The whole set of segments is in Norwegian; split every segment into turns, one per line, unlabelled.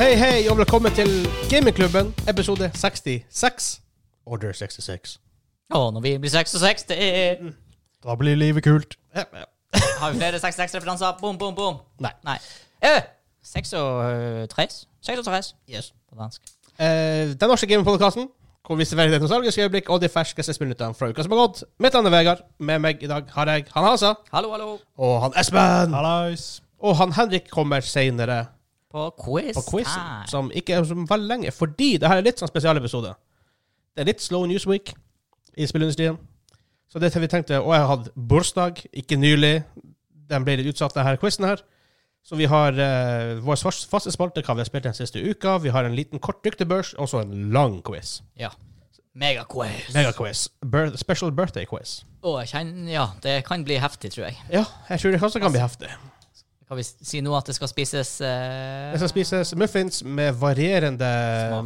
Hei, hei, og velkommen til Gamingklubben, episode 66. Order 66.
Å, når vi blir 66, det er
Da blir livet kult.
Ja, ja.
Har vi flere 66-referanser? Bom, bom, bom.
Nei.
Nei. Eh, 36? 36
Yes.
på dansk.
Eh, den norske gamingpodkasten, hvor vi serverer det nostalgiske øyeblikk og de ferskeste spillnyttene fra uka som har gått. Mitt navn er Vegard. Med meg i dag har jeg han Hasa.
Hallo, hallo.
Og han Espen.
Hallais.
Og han Henrik kommer seinere
På quiz.
på quizen,
time.
som ikke er så veldig lenge, fordi det her er litt sånn spesialepisode. Det er litt slow news week i spillindustrien. Så det vi tenkte Og jeg har hatt bursdag, ikke nylig. Den ble litt utsatt, denne quizen her. Så vi har eh, vår svars- faste spalte, hva vi har spilt den siste uka. Vi har en liten kort ryktebørs, og så en lang quiz.
Ja. Megaquiz.
Megaquiz. Bir special birthday quiz.
Å, jeg kjenner Ja, det kan bli heftig, tror jeg.
Ja, jeg tror det kanskje kan bli heftig.
Kan vi si nå at det skal spises eh,
Det skal spises muffins med varierende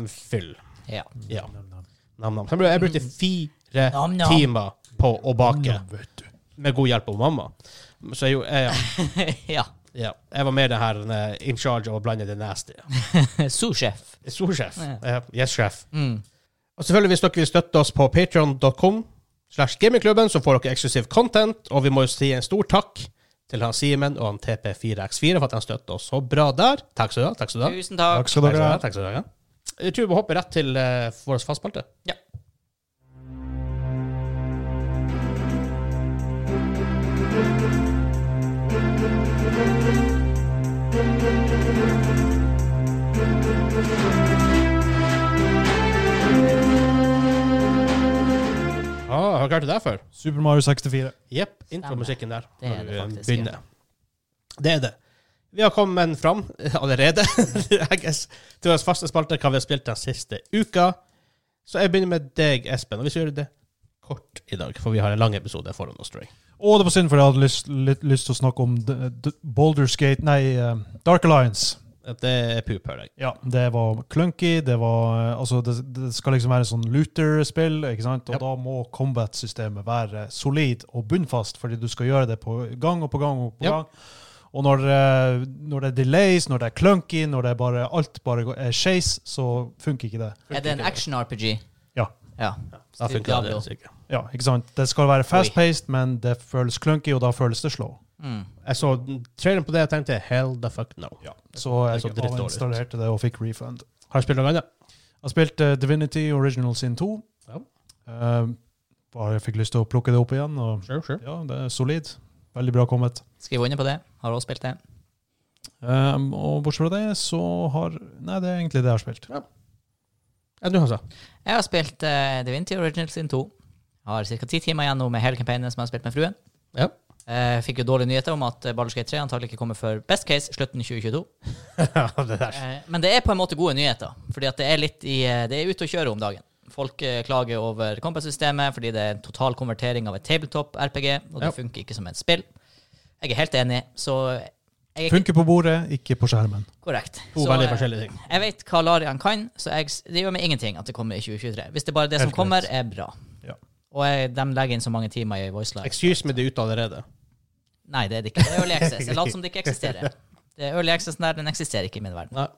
fyll.
Ja.
Ja. Nam-nam. Så Jeg brukte fire
Nam-nam.
timer på å bake, med god hjelp av mamma. Så jeg, jo- jeg,
ja.
ja, jeg var med den her eh, in charge av å blande det nasty.
Sous-sjef.
Storsjef.
Ja.
Ja. Yes, sjef.
Mm.
Og selvfølgelig, hvis dere vil støtte oss på patreon.com slash gamingklubben, så får dere eksklusiv content, og vi må jo si en stor takk til han Simen og han TP4X4 for at han støtter oss så bra der. Takk skal du ha. Takk skal du ha.
Tusen takk.
Takk skal dere ha.
Takk skal du ha. Jeg tror vi må hoppe rett til eh, vår fastspalte.
Ja.
Ah, har du klart det der før?
Super Mario 64.
Jepp. Intromusikken der.
Det er
Når
det
vi
faktisk,
begynner. Det er det. Vi har kommet fram allerede I guess, til vår faste spalte hva vi har spilt den siste uka. Så jeg begynner med deg, Espen. Og vi skal gjøre det kort i dag, for vi har en lang episode foran oss. tror jeg.
Og det var synd, for jeg hadde lyst, litt lyst til å snakke om D D Baldur's Gate Nei, eh, Dark Alliance.
At Det er pup, hører jeg.
Ja, det var clunky. Det var eh, Altså, det, det skal liksom være sånn looter-spill, ikke sant? Og
Ja.
da må combat-systemet være solid og bunnfast, fordi du skal gjøre det på gang og på gang og på
Ja.
gang. Og når, eh, når det er delays, når det er clunky, når det er bare, alt bare går- er skeis, så funker ikke det.
Er det en action-RPG?
Ja.
Ja.
Da funker det.
Diablo.
sikkert.
Ja, ikke sant? Det skal være fast-paced, men det føles clunky, og da føles det slow.
Mm.
Jeg så traileren på det og tenkte hell the fuck no.
Så
Det
jeg
så drittdårlig ut.
installerte det og fikk refund.
Har du spilt noe annet?
Jeg spilte eh, Divinity Original Sin 2.
Ja.
Eh, bare jeg fikk lyst til å plukke det opp igjen, og
Sure, sure.
ja, det er solid. Veldig bra kommet.
Skriv under på det. Har også spilt det.
Um, og bortsett fra det, så har Nei, det er egentlig det jeg har spilt.
Ja, du, altså. Hansa.
Jeg har spilt uh, Divinity Original sin 2. Har ca. ti timer igjen nå med hele campaignen som jeg har spilt med fruen.
Ja.
Eh, fikk jo dårlige nyheter om at eh, Baldur's Gate 3 antagelig ikke kommer før best case slutten 2022.
det der.
Eh, men det er på en måte gode nyheter, fordi at det er litt i eh, Det er ute å kjøre om dagen. Folk eh, klager over Compass-systemet fordi det er en total konvertering av et tabletop-RPG, og det
Ja.
funker ikke som et spill. Jeg er helt enig, så jeg er ikke
Funker på bordet, ikke på skjermen.
korrekt.
To
Så,
veldig
eh,
forskjellige ting.
Jeg vet hva Larian kan, så jeg, det gjør meg ingenting at det kommer i 2023. Hvis det bare er det som
Helt
kommer,
korrekt.
er bra.
Ja.
Og jeg, de legger inn så mange timer i Voice Live.
Excuse me, det er ute allerede.
Nei, det er det ikke. Det er Early Access. Jeg later som det ikke eksisterer. Det er Early Access der, den eksisterer ikke i min verden.
Nei.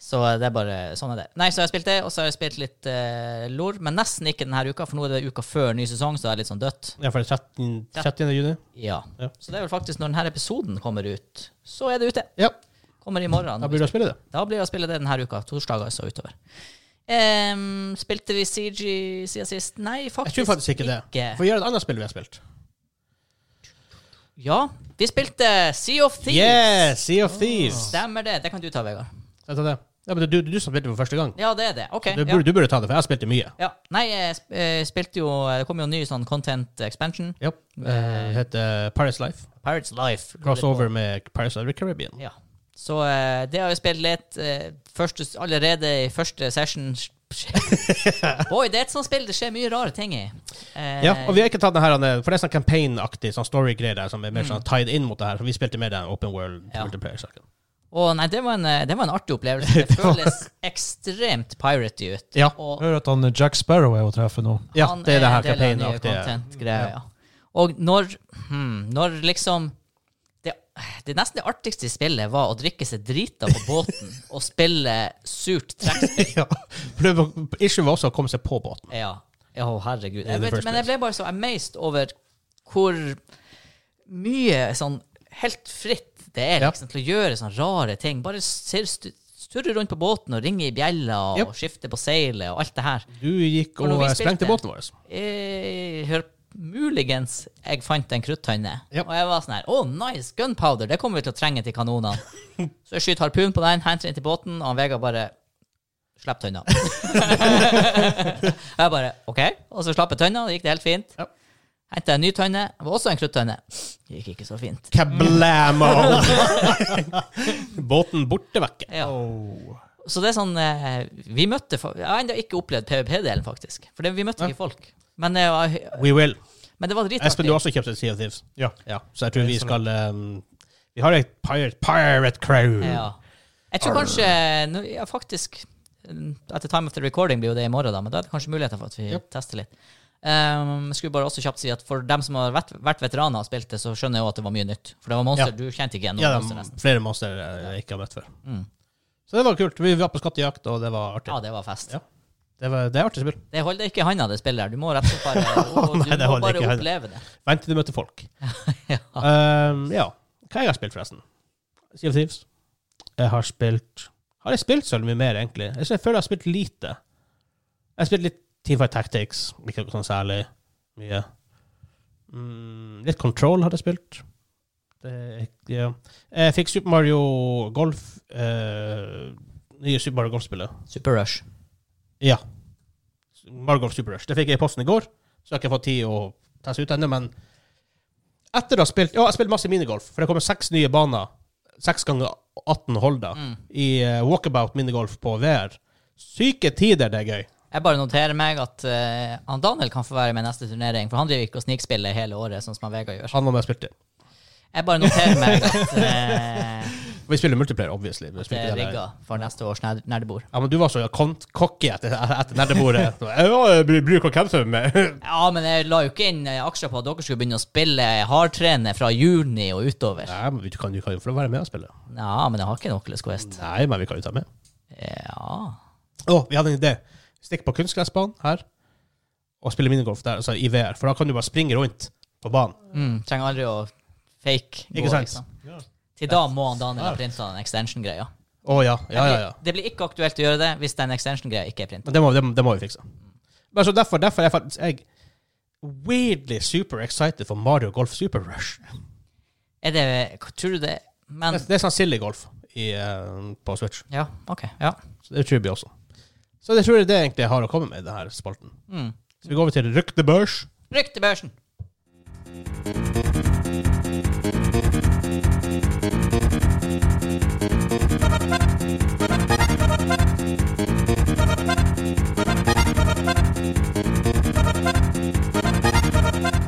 Så det er bare sånn er det. Nei, så har jeg spilt det, og så har jeg spilt litt eh, LOR, men nesten ikke denne uka, for nå er det uka før ny sesong, så det er litt sånn dødt.
Ja, for det er 13. 30. juni.
Ja.
Ja.
Så det er vel faktisk når denne episoden kommer ut, så er det ute.
Ja,
Kommer i morgen.
da blir det å spille det.
Da blir det å spille det denne uka. Torsdager så utover. Ehm, spilte vi CG siden sist? Nei,
Jeg
faktisk,
tror faktisk ikke det.
ikke.
For vi gjør et annet spill vi har spilt.
Ja, vi spilte Sea of Thieves.
Yes, Sea
Oh.
of Thieves.
Stemmer det. Det kan du ta, Vegard.
Jeg tar det. Ja, men det er du, du som spilte for første gang.
Ja, det er det. OK.
Du,
ja.
burde, du burde ta det, for jeg har spilt det mye.
Ja. Nei, jeg sp- eh, spilte jo Det kom jo en ny sånn content expansion.
Ja. Eh, Det heter Paris Life.
Pirates Life.
Crossover med Paris Life Caribbean.
Ja. Så eh, det har vi spilt litt. eh, første, allerede i første session Boy, det er et sånt spill det skjer mye rare ting i. Eh,
Ja, og vi har ikke tatt den her, Anne, for det er sånn campaign-aktig sånn story-greier der, som er mer sånn tied inn mot det her. Så vi spilte mer den open world
Mm. Ja.
multiplayer-saken.
Å nei, det var, en, eh, det var en artig opplevelse. Det føles ekstremt piratey ut.
Ja.
Og
Hører at han eh, Jack Sparrow er å treffe nå.
Ja,
han
det er det her
del av den nye
campaign-aktige.
content-greia, ja. Og når, hmm, når liksom det Det nesten det artigste i spillet var å drikke seg drita på båten og spille surt trekkspill.
ja. For det var, issue var også å komme seg på båten.
Ja. Å, herregud.
the
Jeg vet,
first
men jeg ble bare så amazed over hvor mye sånn helt fritt det er
Ja.
liksom, til å gjøre sånne rare ting. Bare ser, stu- sturre rundt på båten og ringe i bjella og
Yep.
skifte på seilet og alt det her.
Du gikk
For
og
når vi
eh,
spilte-
sprengte båten vår.
Jeg Eh, hør, muligens jeg fant en kruttønne.
Yep.
Og jeg var sånn her Å, nice! Gunpowder! Det kommer vi til å trenge til kanonene. Så jeg skyter harpun på den, henter den til båten, og han Vegard bare Slipp tønna. jeg bare OK. Og så slapp jeg tønna, og det gikk det helt fint.
Ja.
Henta en ny tønne. Det var også en kruttønne. Det gikk ikke så fint.
Kablammo! båten borte vekke.
Ja.
Oh.
Så det er sånn eh, Vi møtte fa- Jeg har ennå ikke opplevd PVP-delen, faktisk. For det, vi møtte ikke folk. Men, eh, jeg-
We will.
men det var dritartig.
Espen, du har også kjøpt et Sea of Thieves.
Ja.
Ja, så jeg tror vi skal ehm, Vi har et pirate, pirate crew.
Ja. Jeg tror kanskje nå- ja, faktisk mm, At the time of the recording blir jo det i morgen, da, men da er det kanskje muligheter for at vi tester litt. Um, skulle bare også kjapt si at For dem som har vært, vært veteraner og spilt det, så skjønner jeg jo at det var mye nytt. For det var monster
Ja.
du kjente ikke igjen.
Ja,
noen
det
monster
er
nesten.
flere monster jeg ikke har møtt før.
Mm.
Så det var kult. Vi var på skattejakt, og det var artig.
ja, det var fest.
Ja. Det, var, det er artig spill.
Det holder ikke i handa, det spillet her. Du må rett og slett bare, og,
Nei, det
du må
holder ikke
bare
i handa.
oppleve det.
Vent til du møter folk.
ja.
Ehm, ja. Hva jeg har spilt, forresten? Sea of Thieves. Jeg har spilt Har jeg spilt så mye mer, egentlig? Jeg synes- jeg føler jeg har spilt lite. Jeg har spilt litt Teamfight Tactics, ikke noe sånn særlig mye. Mm, litt Control har jeg spilt. Det, er ikke- ja. Jeg fikk Super Mario Golf eh, Nye Super Mario Golf-spillet.
Super Rush.
Ja. Mario Golf Super Rush. Det fikk jeg i posten i går, så jeg har ikke fått tid å teste ut ennå, men etter å ha spilt Ja, jeg har spilt masse minigolf, for det kommer seks nye baner. Seks ganger 18 holder
Mm.
i eh, walkabout minigolf på VR. Syke tider, det er gøy.
Jeg bare noterer meg at eh, han Daniel kan få være med i neste turnering, for han driver ikke og snikspiller hele året, sånn som han Vegard gjør.
Han var med og spilte.
Jeg bare noterer meg at eh,
Vi spiller multiplayer, obviously. Vi
Det
spilte
er
det der.
rigga eh, for neste års nerd- nerdebord.
Ja, men du var så kon- cocky etter, etter nerdebordet. ja, bruker å cancele meg.
Ja, men jeg la jo ikke inn eh, aksjer på at dere skulle begynne å spille hardtrene fra juni og utover.
Nei, men du kan du kan jo få være med og spille.
Ja, men jeg har ikke en Oculus Quest.
Nei, men vi kan jo ta med.
Ja.
Å, vi hadde en idé. Stikk på kunstgressbanen her, og spille minigolf der, altså i VR. For da kan du bare springe rundt på banen.
Mm, trenger aldri å fake. gå, liksom.
Ikke sant?
Ja.
Til da må han Daniel ha printa den extension-greia.
Å ja, ja, ja. ja.
Det blir ikke aktuelt å gjøre det hvis den extension-greia ikke er printa.
Men det må, det, må- det må vi fikse. Men så derfor, derfor er jeg faktisk jeg weirdly super excited for Mario Golf Super Rush.
Er det Tror du det Men
Det, det er sånn silly golf i, eh, på Switch.
Ja, OK. Ja.
Så det tror vi også. Så det tror jeg det egentlig jeg har å komme med i denne spalten.
Mm.
Så vi går over til ryktebørs.
Ryktebørsen.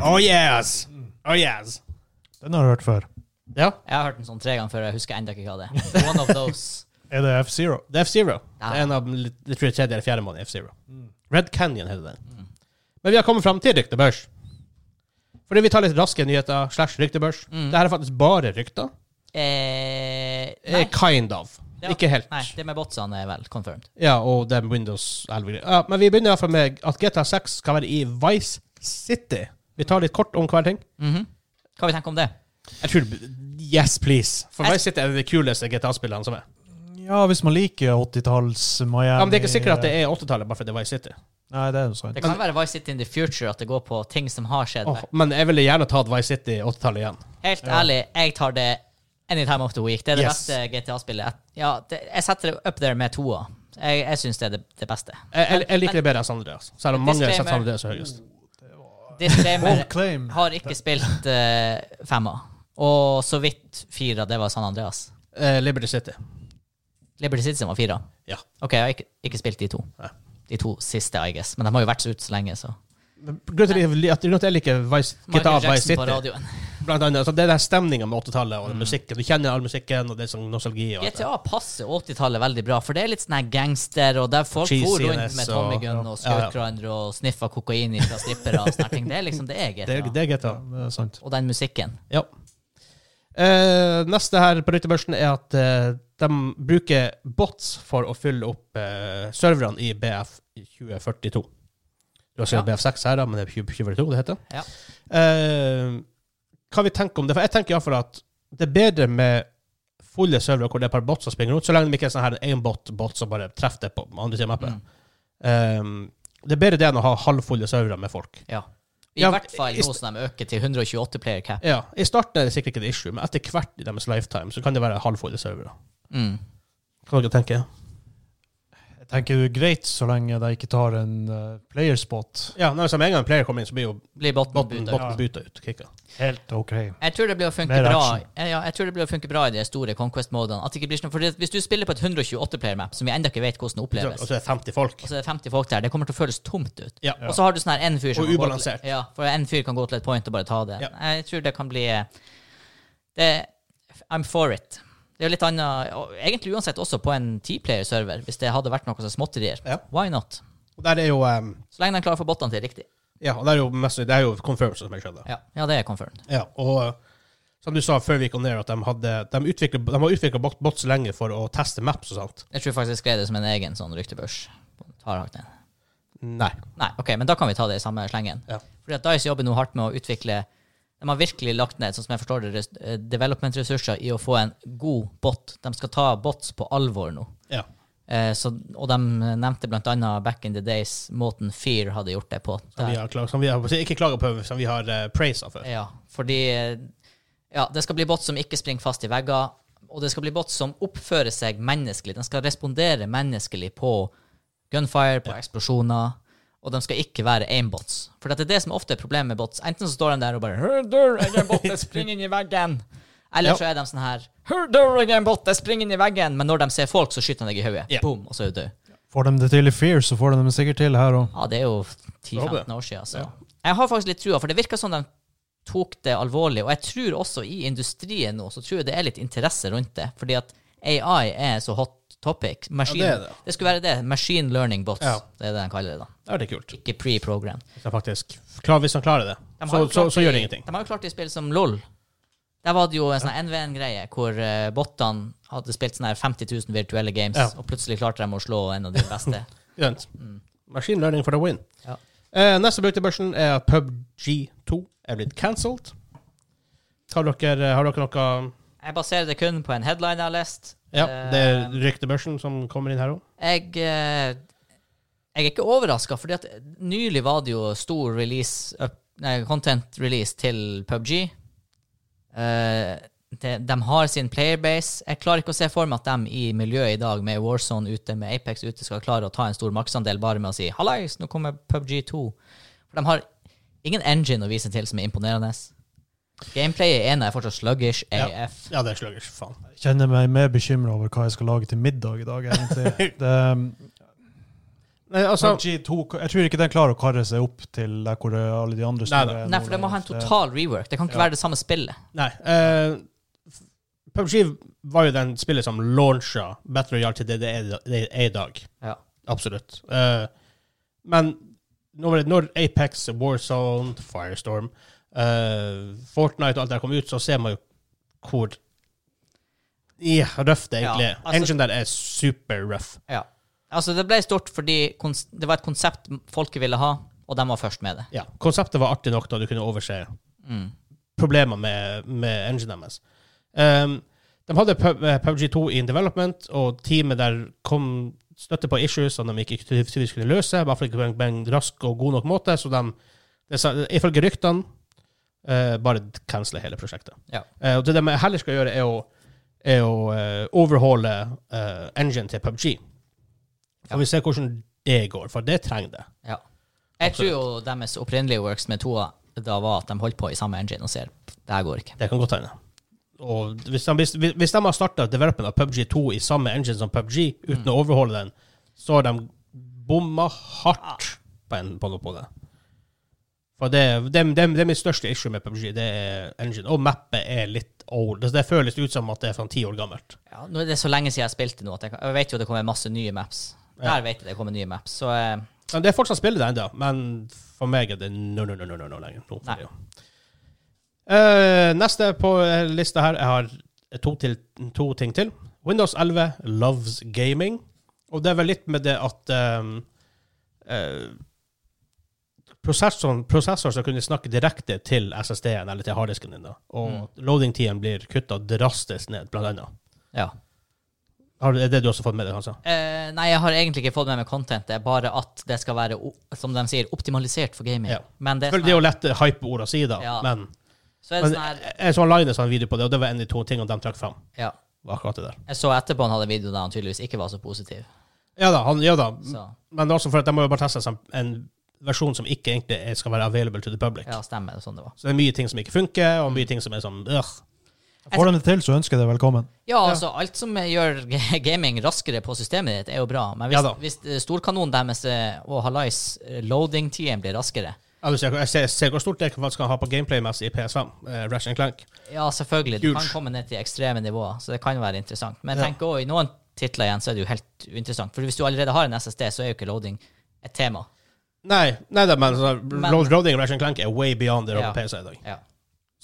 Oh yes! Oh yes!
Den har jeg hørt før.
Ja,
Jeg har hørt den sånn tre ganger før, jeg husker enda ikke hva det er. One of those.
Er det F-Zero?
Det er F-Zero.
Ja.
Det er en av litt- jeg tror det er tredje eller fjerde måned i F-Zero. Red Canyon heter den.
Mm.
Men vi har kommet fram til ryktebørs. Fordi vi tar litt raske nyheter slash ryktebørs.
Mm.
Det her er faktisk bare rykter.
Eh,
Eh, Kind of.
Ja.
Ikke helt.
Nei, det med botsene er vel confirmed.
Ja, og det er Windows 11 greier. Ja, men vi begynner i hvert fall med at GTA 6 skal være i Vice City. Vi tar litt kort om hver ting.
Hva vi tenker om det?
Jeg tror Yes, please. For
Jeg-
Vice City er det kuleste GTA-spillene som er.
Ja, hvis man liker 80-talls Miami
Ja, men det er ikke sikkert at det er 80-tallet bare fordi det er Vice City.
Nei, det er jo sant.
Det kan være Vice City in the future at det går på ting som har skjedd.
Åh, men jeg ville gjerne tatt Vice City 80-tallet igjen.
Helt ærlig, jeg tar det any time of the week. Det er det
Yes.
beste GTA-spillet. Ja, det, jeg setter det up there med toa. Jeg, jeg syns det er det, det beste.
Jeg, jeg, jeg liker det bedre enn San Andreas. Selv om mange setter San
Disclaimer.
Andreas høyest.
Disclaimer
Bold claim.
har ikke spilt eh, femma. Og så vidt fira, det var San Andreas.
Eh, Liberty City.
Liberty City var fira.
Ja.
OK, jeg har ikke, ikke spilt de to.
Nei.
De to siste, I guess. Men de har jo vært ute så lenge, så
Men Grunnen til at jeg- at grunnen til at jeg liker Vice, GTA
Michael
Vice
Jackson på Mm.
City,
radioen.
blant annet, så det er den stemninga med 80-tallet og den musikken. Du kjenner all musikken, og det er sånn nostalgi. Og alt det.
GTA passer 80-tallet veldig bra, for det er litt sånn her gangster, og der folk
Cheesiness
for rundt med Tommy
og-
Gunn
Ja, ja.
og skjøt hverandre og sniffa kokain fra strippere og sånne ting. Det er liksom det er GTA.
Det, det er GTA.
Det er sant.
Og den musikken.
Ja. Eh, neste her på rytterbørsen er at eh, de bruker bots for å fylle opp eh, serverne i BF 2042. Du har sett
Ja.
BF6 her, da, men det er 2042 det heter.
Ja.
Eh, hva vi tenker om det? For jeg tenker iallfall at det er bedre med fulle servere hvor det er et par bots som springer rundt, så lenge de ikke er sånn her en bot-bot som bare treffer det på andre siden av mappen.
Mm.
Eh, det er bedre det enn å ha halvfulle servere med folk.
Ja. I
Ja,
hvert fall
i-
nå som de øker til 128 player cap.
Ja, I starten er det sikkert ikke et issue, men etter hvert i deres lifetime så kan det være halvfulle servere.
Mm.
Hva dere tenker
Jeg tenker det er greit så lenge de ikke tar en eh, playerspot.
Ja, nei, så Med en gang en player kommer inn, så blir jo
Blir botten
botten,
bytta.
botten bytta ut. Kicka.
Helt OK.
Jeg tror det blir å funke
Mer
bra
action.
ja, jeg tror det blir å funke bra i de store Conquest-modene. At det ikke blir sånn- For det- Hvis du spiller på et 128-player-map, som vi ennå ikke vet hvordan det
Og
oppleves,
så er det 50 folk.
og så er det 50 folk der, det kommer til å føles tomt ut.
Ja.
Og så har du sånn her en fyr som
Og
kan gå til-
ubalansert.
Ja, for en fyr kan gå til et point og bare ta det.
Ja.
Jeg tror det kan bli eh, det, I'm for it. Det er jo litt annet og Egentlig uansett også på en T-player-server, hvis det hadde vært noe som småtterier.
Ja.
Why not?
Og der er jo um,
Så lenge de klarer å få bottene til riktig.
Ja, og der er jo mest, det er jo confirmed, som jeg skjønner.
Ja, ja det er confirmed.
Ja, og uh, som du sa før vi gikk ned, at de, hadde, de, utviklet, de har utvikla bots lenge for å teste maps og sånt.
Jeg tror faktisk jeg skrev det som en egen sånn ryktebørs. Tar hakk den.
Nei.
Nei, ok, men da kan vi ta det i samme slengen.
Ja.
Fordi at Dice jobber nå hardt med å utvikle De har virkelig lagt ned sånn som jeg forstår det, res- eh, development-ressurser i å få en god bot. De skal ta bots på alvor nå.
Ja.
Eh, så, og de nevnte blant annet back in the days måten Fear hadde gjort det på.
Som vi har, klag- som vi har Ikke klaga på, som vi har uh, praisa for.
Ja, fordi eh, ja, det skal bli bots som ikke springer fast i vegger, og det skal bli bots som oppfører seg menneskelig. Den skal respondere menneskelig på gunfire, på eksplosjoner, og de skal ikke være aimbots. For det er det som ofte er problemet med bots. Enten så står de der og bare «Hør, dør, jeg er en bot, jeg springer inn i veggen. Eller
Ja.
så er de sånn her «Hør, dør, jeg er en bot, jeg springer inn i veggen. Men når de ser folk, så skyter de deg i hodet.
Ja.
Boom, og så er du død.
Får de det til i Fear, så får de det sikkert til her òg.
Ja, det er jo
Håper
10-15
det.
år siden. Altså. Jeg har faktisk litt trua, for det virker som de tok det alvorlig. Og jeg tror også i industrien nå, så tror jeg det er litt interesse rundt det. Fordi at AI er så hot topic. Machine,
Ja,
det,
det er det.
skulle være det. Machine learning bots.
Ja.
Det er det de kaller det, da.
Det er det kult.
Ikke pre-program.
Hvis de faktisk klar, Hvis de klarer det,
De har
så,
jo
så,
klart
så
i-
gjør det ingenting.
De har jo klart det i spill som LOL. Der var det jo en sånn NVN-greie hvor eh, bottene hadde spilt sånn her 50 000 virtuelle games,
Ja.
og plutselig klarte de å slå en av de beste.
Grønt. Machine learning for the win.
Mm. Ja.
Eh, neste bruk til børsen er at PubG2 er blitt cancelled. Har dere, eh, har dere noe
jeg baserer det kun på en headline jeg har lest.
Ja, det er
Eh,
ryktebørsen som kommer inn her òg.
Jeg, eh, jeg er ikke overraska, fordi at nylig var det jo stor release, up, nei, content release til PubG. Eh, de, de har sin playerbase. Jeg klarer ikke å se for meg at de i miljøet i dag, med Warzone ute, med Apex ute, skal klare å ta en stor maksandel bare med å si 'hallais, nå kommer PubG2'. For de har ingen engine å vise til som er imponerende. Gameplayet i ena er fortsatt sluggish
Ja.
AF.
Ja, det er sluggers, faen.
Kjenner meg mer bekymra over hva jeg skal lage til middag i dag, egentlig. Det, um,
Nei, altså,
PUBG2, jeg tror ikke den klarer å karre seg opp til der hvor alle de andre
Nei,
store
nei.
er
Nei,
nå
for de må ha en
lenger. Det-
total rework. Det kan ikke
Ja.
være det samme spillet.
nei eh, f- PubG var jo den spillet som launcha Battle Royale til det det er det er i dag.
Ja.
Absolutt. Eh, men når, når Apex, Warzone, Firestorm, eh, Fortnite og alt det her kom ut, så ser man jo hvor ja, røft det egentlig
Ja,
er.
altså-
Engine der er super rough.
Ja. Altså, det ble stort fordi kons det var et konsept folket ville ha, og de var først med det.
Ja, konseptet var artig nok da du kunne overse
Mm.
problemer med, med engine deres. Um, de hadde Pub- eh, PUBG2 i development, og teamet der kom støtte på issues som de ikke tydeligvis kunne løse, i hvert fall ikke på en- på en rask og god nok måte, så de, det sa- ifølge ryktene, eh, bare cancele hele prosjektet.
Ja.
Eh, og det de heller skal gjøre, er å, er å eh, overhale eh, engine til PubG.
Ja.
Får vi se hvordan det går, for det trenger det.
Ja. Jeg tror jo deres opprinnelige works med toa da var at de holdt på i samme engine og ser det her går ikke.
Det kan godt hende. Og hvis de, hvis, hvis de har starta development av PubG 2 i samme engine som PubG, uten å overholde den, så har de bomma hardt på, en, på, noe på det. For det, det, det, det er mitt største issue med PubG, det er engine. Og mappet er litt old. Altså, Det, det føles ut som at det er fra ti år gammelt.
Ja, nå er det så lenge siden jeg spilte nå at jeg, kan- jeg vet jo det kommer masse nye maps.
Ja.
Der vet jeg det kommer nye maps, så eh,
Men det er folk som spiller det ennå, men for meg er det no, no, no, no, no, no lenger. Nå, for
Nei.
det jo. Eh, neste på eh, lista her Jeg har to, til, to ting til. Windows 11 loves gaming. Og det er vel litt med det at eh, eh, prosessoren, prosessoren skal kunne snakke direkte til SSD-en eller til harddisken din. da Og
Mm.
loading-tiden blir kutta drastisk ned, blant annet.
Ja.
Har, du- er det du også fått med deg, Hansa?
Eh, nei, jeg har egentlig ikke fått med meg content. Det er bare at det skal være, o- som de sier, optimalisert for gaming.
Ja.
Men det er
Selvfølgelig det er
sånn
jo lett å hype ord å si, da,
Ja.
men,
her, så er det
men
sånn her
jeg så Linus hadde en video på det, og det var en av de to tingene de trakk fram.
ja.
Var akkurat det der.
Jeg så etterpå han hadde en video der han tydeligvis ikke var så positiv.
Ja da, han, ja da.
Så
men det er også for at de må jo bare teste seg en versjon som ikke egentlig er- skal være available to the public.
ja, stemmer. det er Sånn det var.
Så det er mye ting som ikke funker, og mye ting som er sånn øh.
Eh, Får de det til, så ønsker jeg det velkommen.
Ja, altså, alt som gjør g- gaming raskere på systemet ditt, er jo bra. Men hvis,
Ja da.
hvis eh, storkanonen deres eh, og Halais loading-tiden blir raskere
Jeg ser, jeg ser, ser hvor stort det faktisk kan ha på gameplay-messig i PS5. Eh, Ratchet and Clank.
Ja, selvfølgelig. Du kan
Huge.
komme ned til ekstreme nivåer, så det kan være interessant. Men
Ja.
tenk også, i noen titler igjen så er det jo helt uinteressant. For hvis du allerede har en SSD, så er jo ikke loading et tema.
Nei, nei da, men, så,
Men-
Road Roading og Ratchet and Clank er way beyond det
Ja.
på PC i dag.
Ja.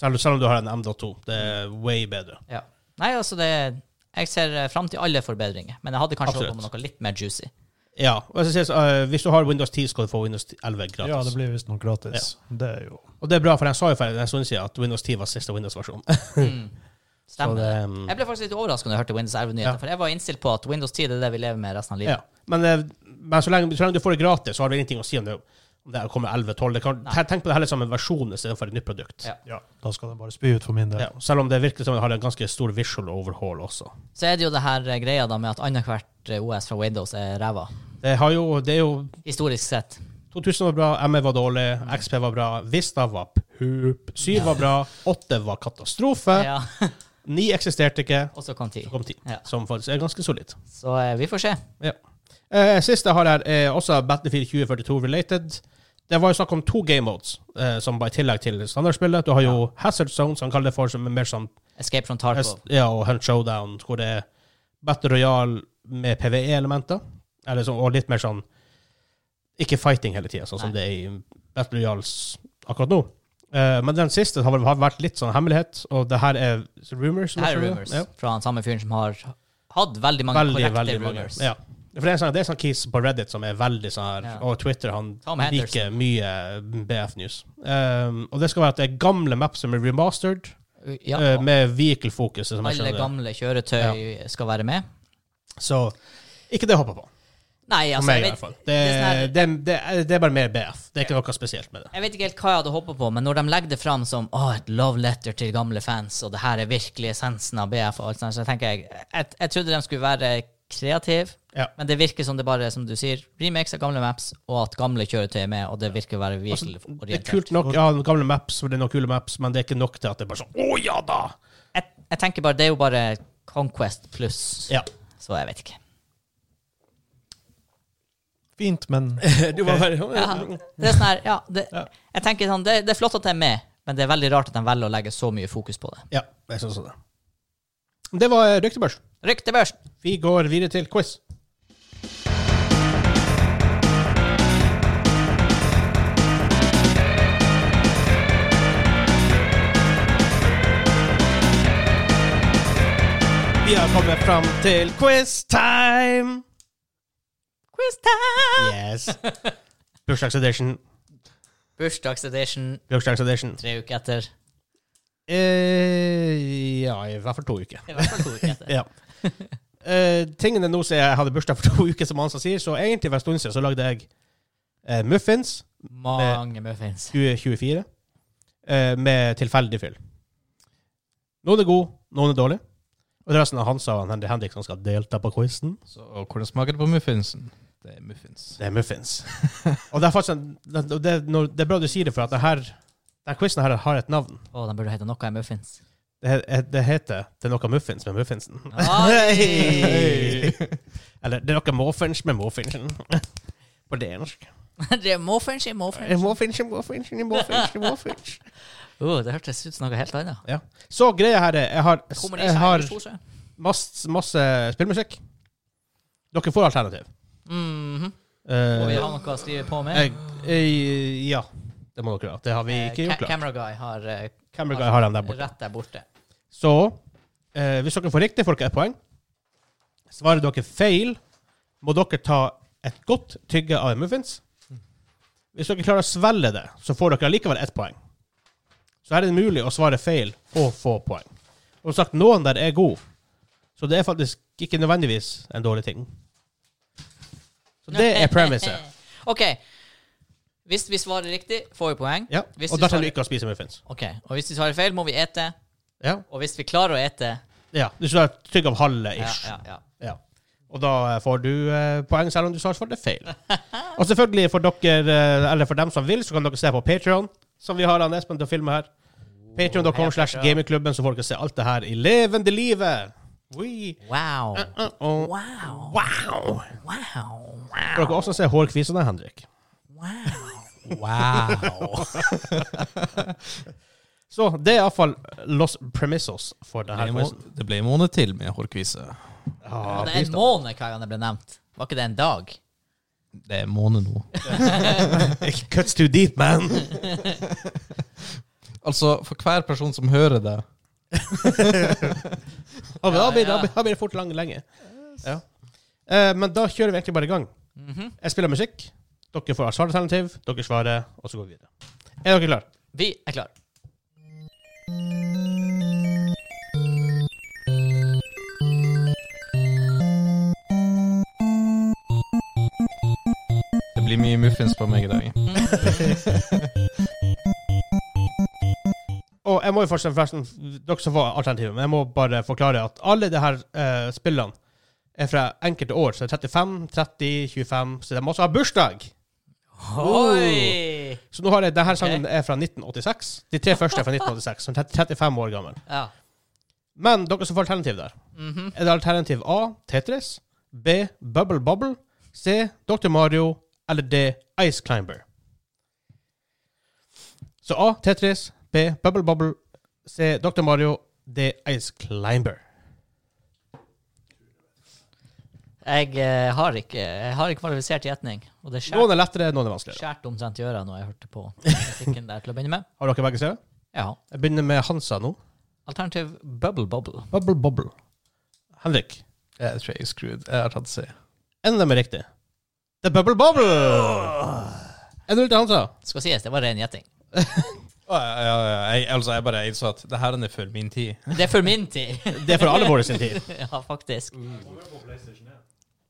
Selv, selv om du har en M.2. Det er way bedre.
Ja. Nei, altså det Jeg ser eh, fram til alle forbedringer, men jeg hadde kanskje håpet på noe litt mer juicy.
Ja. Og jeg skal si, eh, hvis du har Windows 10, skal du få Windows 11 gratis.
Ja, det blir visstnok gratis. Det er jo
Og det er bra, for jeg sa jo for en stund siden at Windows 10 var siste Windows-versjon. Så
Mm. Stemmer.
det,
det.
um,
Jeg ble faktisk litt overraska da jeg hørte Windows 11-nyheter,
Ja.
for jeg var innstilt på at Windows 10 det er det vi lever med resten av
ja.
livet.
Men, eh, men så, lenge, så lenge du får det gratis, så har det ingenting å si om det, om det kommer 11-12. Det kan-
Nei.
te- Tenk på det heller som en versjon istedenfor et nytt produkt.
Ja.
Ja, da skal det bare spy ut for min del.
Ja, selv om det virker som det har en ganske stor visual overhaul også.
Så er det jo det her eh, greia da med at annethvert eh, OS fra Windows er ræva.
Det, har jo, det er jo
Historisk sett.
2000 var bra, ME var dårlig, XP var bra, Vista var pup, 7 var bra, 8 var katastrofe,
Ja.
9 eksisterte ikke,
Og så kom 10.
så kom 10,
Ja.
som faktisk er ganske solid.
Så eh, vi får se.
Ja. Eh, siste jeg har her, er også Battlefield 2042 related. Det var jo snakk om to game modes, eh, som var i tillegg til standardspillet. Du har jo Hazard Zone, som han kaller det for, som er mer sånn
Escape from Tarkov.
ja, og Hunt Showdown, hvor det er Battle Royale med PVE-elementer, eller sånn, og litt mer sånn ikke fighting hele tida, sånn som
Nei.
det er i Battle Royales akkurat nå. Eh, men den siste har, vel- har vært litt sånn hemmelighet, og det her er rumors. som
Her
jeg
er
tror det er.
rumors
Ja.
fra han samme fyren som har hatt veldig mange
veldig,
korrekte
veldig mange.
rumors.
Ja. For det er en sånn, det er en sånn kis på Reddit som er veldig sånn her,
Ja.
og Twitter, han
Tom
liker
Henderson.
mye BF News. Um, og det skal være at det er gamle maps som er remastered,
Ja.
eh, med vehicle-fokuset, som jeg
Alle
skjønner.
gamle kjøretøy skal være med.
det. Så ikke det jeg håper på.
Nei,
For
altså,
meg, i hvert
jeg vet,
fall.
det
Det,
er sånn her-
det, det, er- det er bare mer BF. Det er ikke noe spesielt med det.
Jeg vet ikke helt hva jeg hadde håpa på, men når de legger det fram som «Åh, et love letter til gamle fans, og det her er virkelig essensen av BF, og alt sånt, så tenker jeg jeg, jeg trodde de skulle være kreative,
Ja.
men det virker som det bare er, som du sier, remakes av gamle maps, og at gamle kjøretøy er med, og det virker å være virkelig
Altså, Det er
orientert.
kult nok, ja, gamle maps, for det er noen kule maps, men det er ikke nok til at det er bare sånn, å ja da!
Jeg, jeg tenker bare, det er jo bare Conquest pluss,
Ja.
så jeg vet ikke.
Fint, men
Du var bare,
Ja, det er sånn her, ja, det, jeg tenker sånn, det, det er flott at de er med, men det er veldig rart at de velger å legge så mye fokus på det.
ja, jeg synes det. Det var eh, ryktebørs.
Ryktebørs!
Vi går videre til quiz. Vi har kommet fram til quiz time!
Quiz time!
Yes. Bursdagsedition.
Bursdagsedition,
Bursdagsedition.
tre uker etter.
Eh, ja, i hvert fall to uker.
I hvert fall to uker etter.
Ja. Eh, tingene nå som jeg hadde bursdag for to uker, som Hansa sier, så egentlig for en stund siden så lagde jeg eh, muffins
Mange muffins.
2024 eh, med tilfeldig fyll. Noen er god, noen er dårlig. Og det er resten av Hansa og Henry Henrik som skal delta på quizen.
Så hvordan smaker det på muffinsen? Det er muffins.
Det er muffins. og det er faktisk en, det, det, når, det er bra du sier det, for at det her, den quizen her har et navn.
Å, de burde hete noe er muffins.
Det, he- det heter 'Det er noe muffins med muffinsen'.
Oi!
Eller 'Det er noe muffins med muffinsen'. På dansk.
det er muffins i muffins.
Muffins, muffins, muffins, muffins.
Å, Uh, det hørtes ut som noe helt annet.
Ja. Så greia her er Jeg har,
Kommer det
jeg
ikke
har
en pose?
masse, masse spillmusikk. Dere får alternativ.
Mhm.
Eh,
Og vi har noe å skrive på med.
jeg, eh, ja. Det må dere ha. Det har vi ikke
Eh,
gjort
Ca-
klart.
Camera Guy har eh,
Camera Guy har dem der borte.
rett der borte.
Så eh, hvis dere får riktig, får dere ett poeng. Svarer dere feil, må dere ta et godt tygge av en muffins. Hvis dere klarer å svelge det, så får dere allikevel ett poeng. Så her er det mulig å svare feil og få poeng. Og som sagt, noen der er gode, så det er faktisk ikke nødvendigvis en dårlig ting. Så det er premiset.
OK. Hvis vi svarer riktig, får vi poeng.
Ja.
Hvis
Og
du
da trenger
svarer-
du ikke å spise muffins.
Ok, Og hvis vi svarer feil, må vi ete.
Ja.
Og hvis vi klarer å ete
ja. Du skal være trygg av halve
ja,
ish.
ja, ja.
Ja. Og da eh, får du eh, poeng selv om du svarer det feil. Og selvfølgelig for dere, eh, eller for dem som vil, så kan dere se på Patreon som vi har han Espen til å filme her. Patreon.com slash gamingklubben, så får dere se alt det her i levende livet. Oui.
Wow.
Uh, og
Wow.
wow!
Wow.
Får dere også se hårkvisene, Henrik.
Wow.
Wow.
Så det er iallfall los premissos for det her.
Det ble en
quizen.
må- det ble en måned til med hårkvise.
Ah,
Og det er en måned hver gang det ble nevnt. Var ikke det en dag?
Det er en måned nå.
it Cuts too deep, man.
Altså, for hver person som hører det
Ja, men da, blir, da,
Ja, ja.
blir, da blir det fort lang, lenge. Ja. Eh, men da kjører vi egentlig bare i gang.
Mhm.
Jeg spiller musikk. Dere får svaralternativ, dere svarer, og så går vi videre. Er dere klare?
Vi er klar.
Det blir mye muffins på meg i dag.
Og jeg må jo forresten, forresten dere som får alternativet, men jeg må bare forklare at alle de her eh, spillene er fra enkelte år, så det er 35, 30, 25, så de må også ha bursdag! Oh.
Oi!
Så nå har jeg, denne sangen er fra 1986. De tre første er fra 1986, så den er 35 år gammel.
Ja.
Men dere som får alternativ der. Er det alternativ A Tetris, B Bubble Bubble, C Dr. Mario eller D Ice Climber? Så A Tetris, B Bubble Bubble, C Dr. Mario, D Ice Climber.
Jeg, eh, har ikke, jeg har ikke kvalifisert gjetning. Og det
Noen
skjær-
er lettere, noen er vanskeligere.
skjærte omtrent i øra når jeg hørte på musikken der til å begynne med.
Har dere begge skrevet?
Ja.
Jeg begynner med Hansa nå.
Alternativ Bubble Bubble.
Bubble Bubble. Henrik,
Jeg tror jeg er screwed. Jeg har tatt C.
en av dem er riktig. Det er Bubble Bubble! Er det til Hansa?
Skal sies, det var ren gjetting.
Ja, ja, ja. Jeg, altså, jeg bare innså at det her er før min tid.
Det er for min tid!
Det er for alle våre sin tid.
ja, faktisk.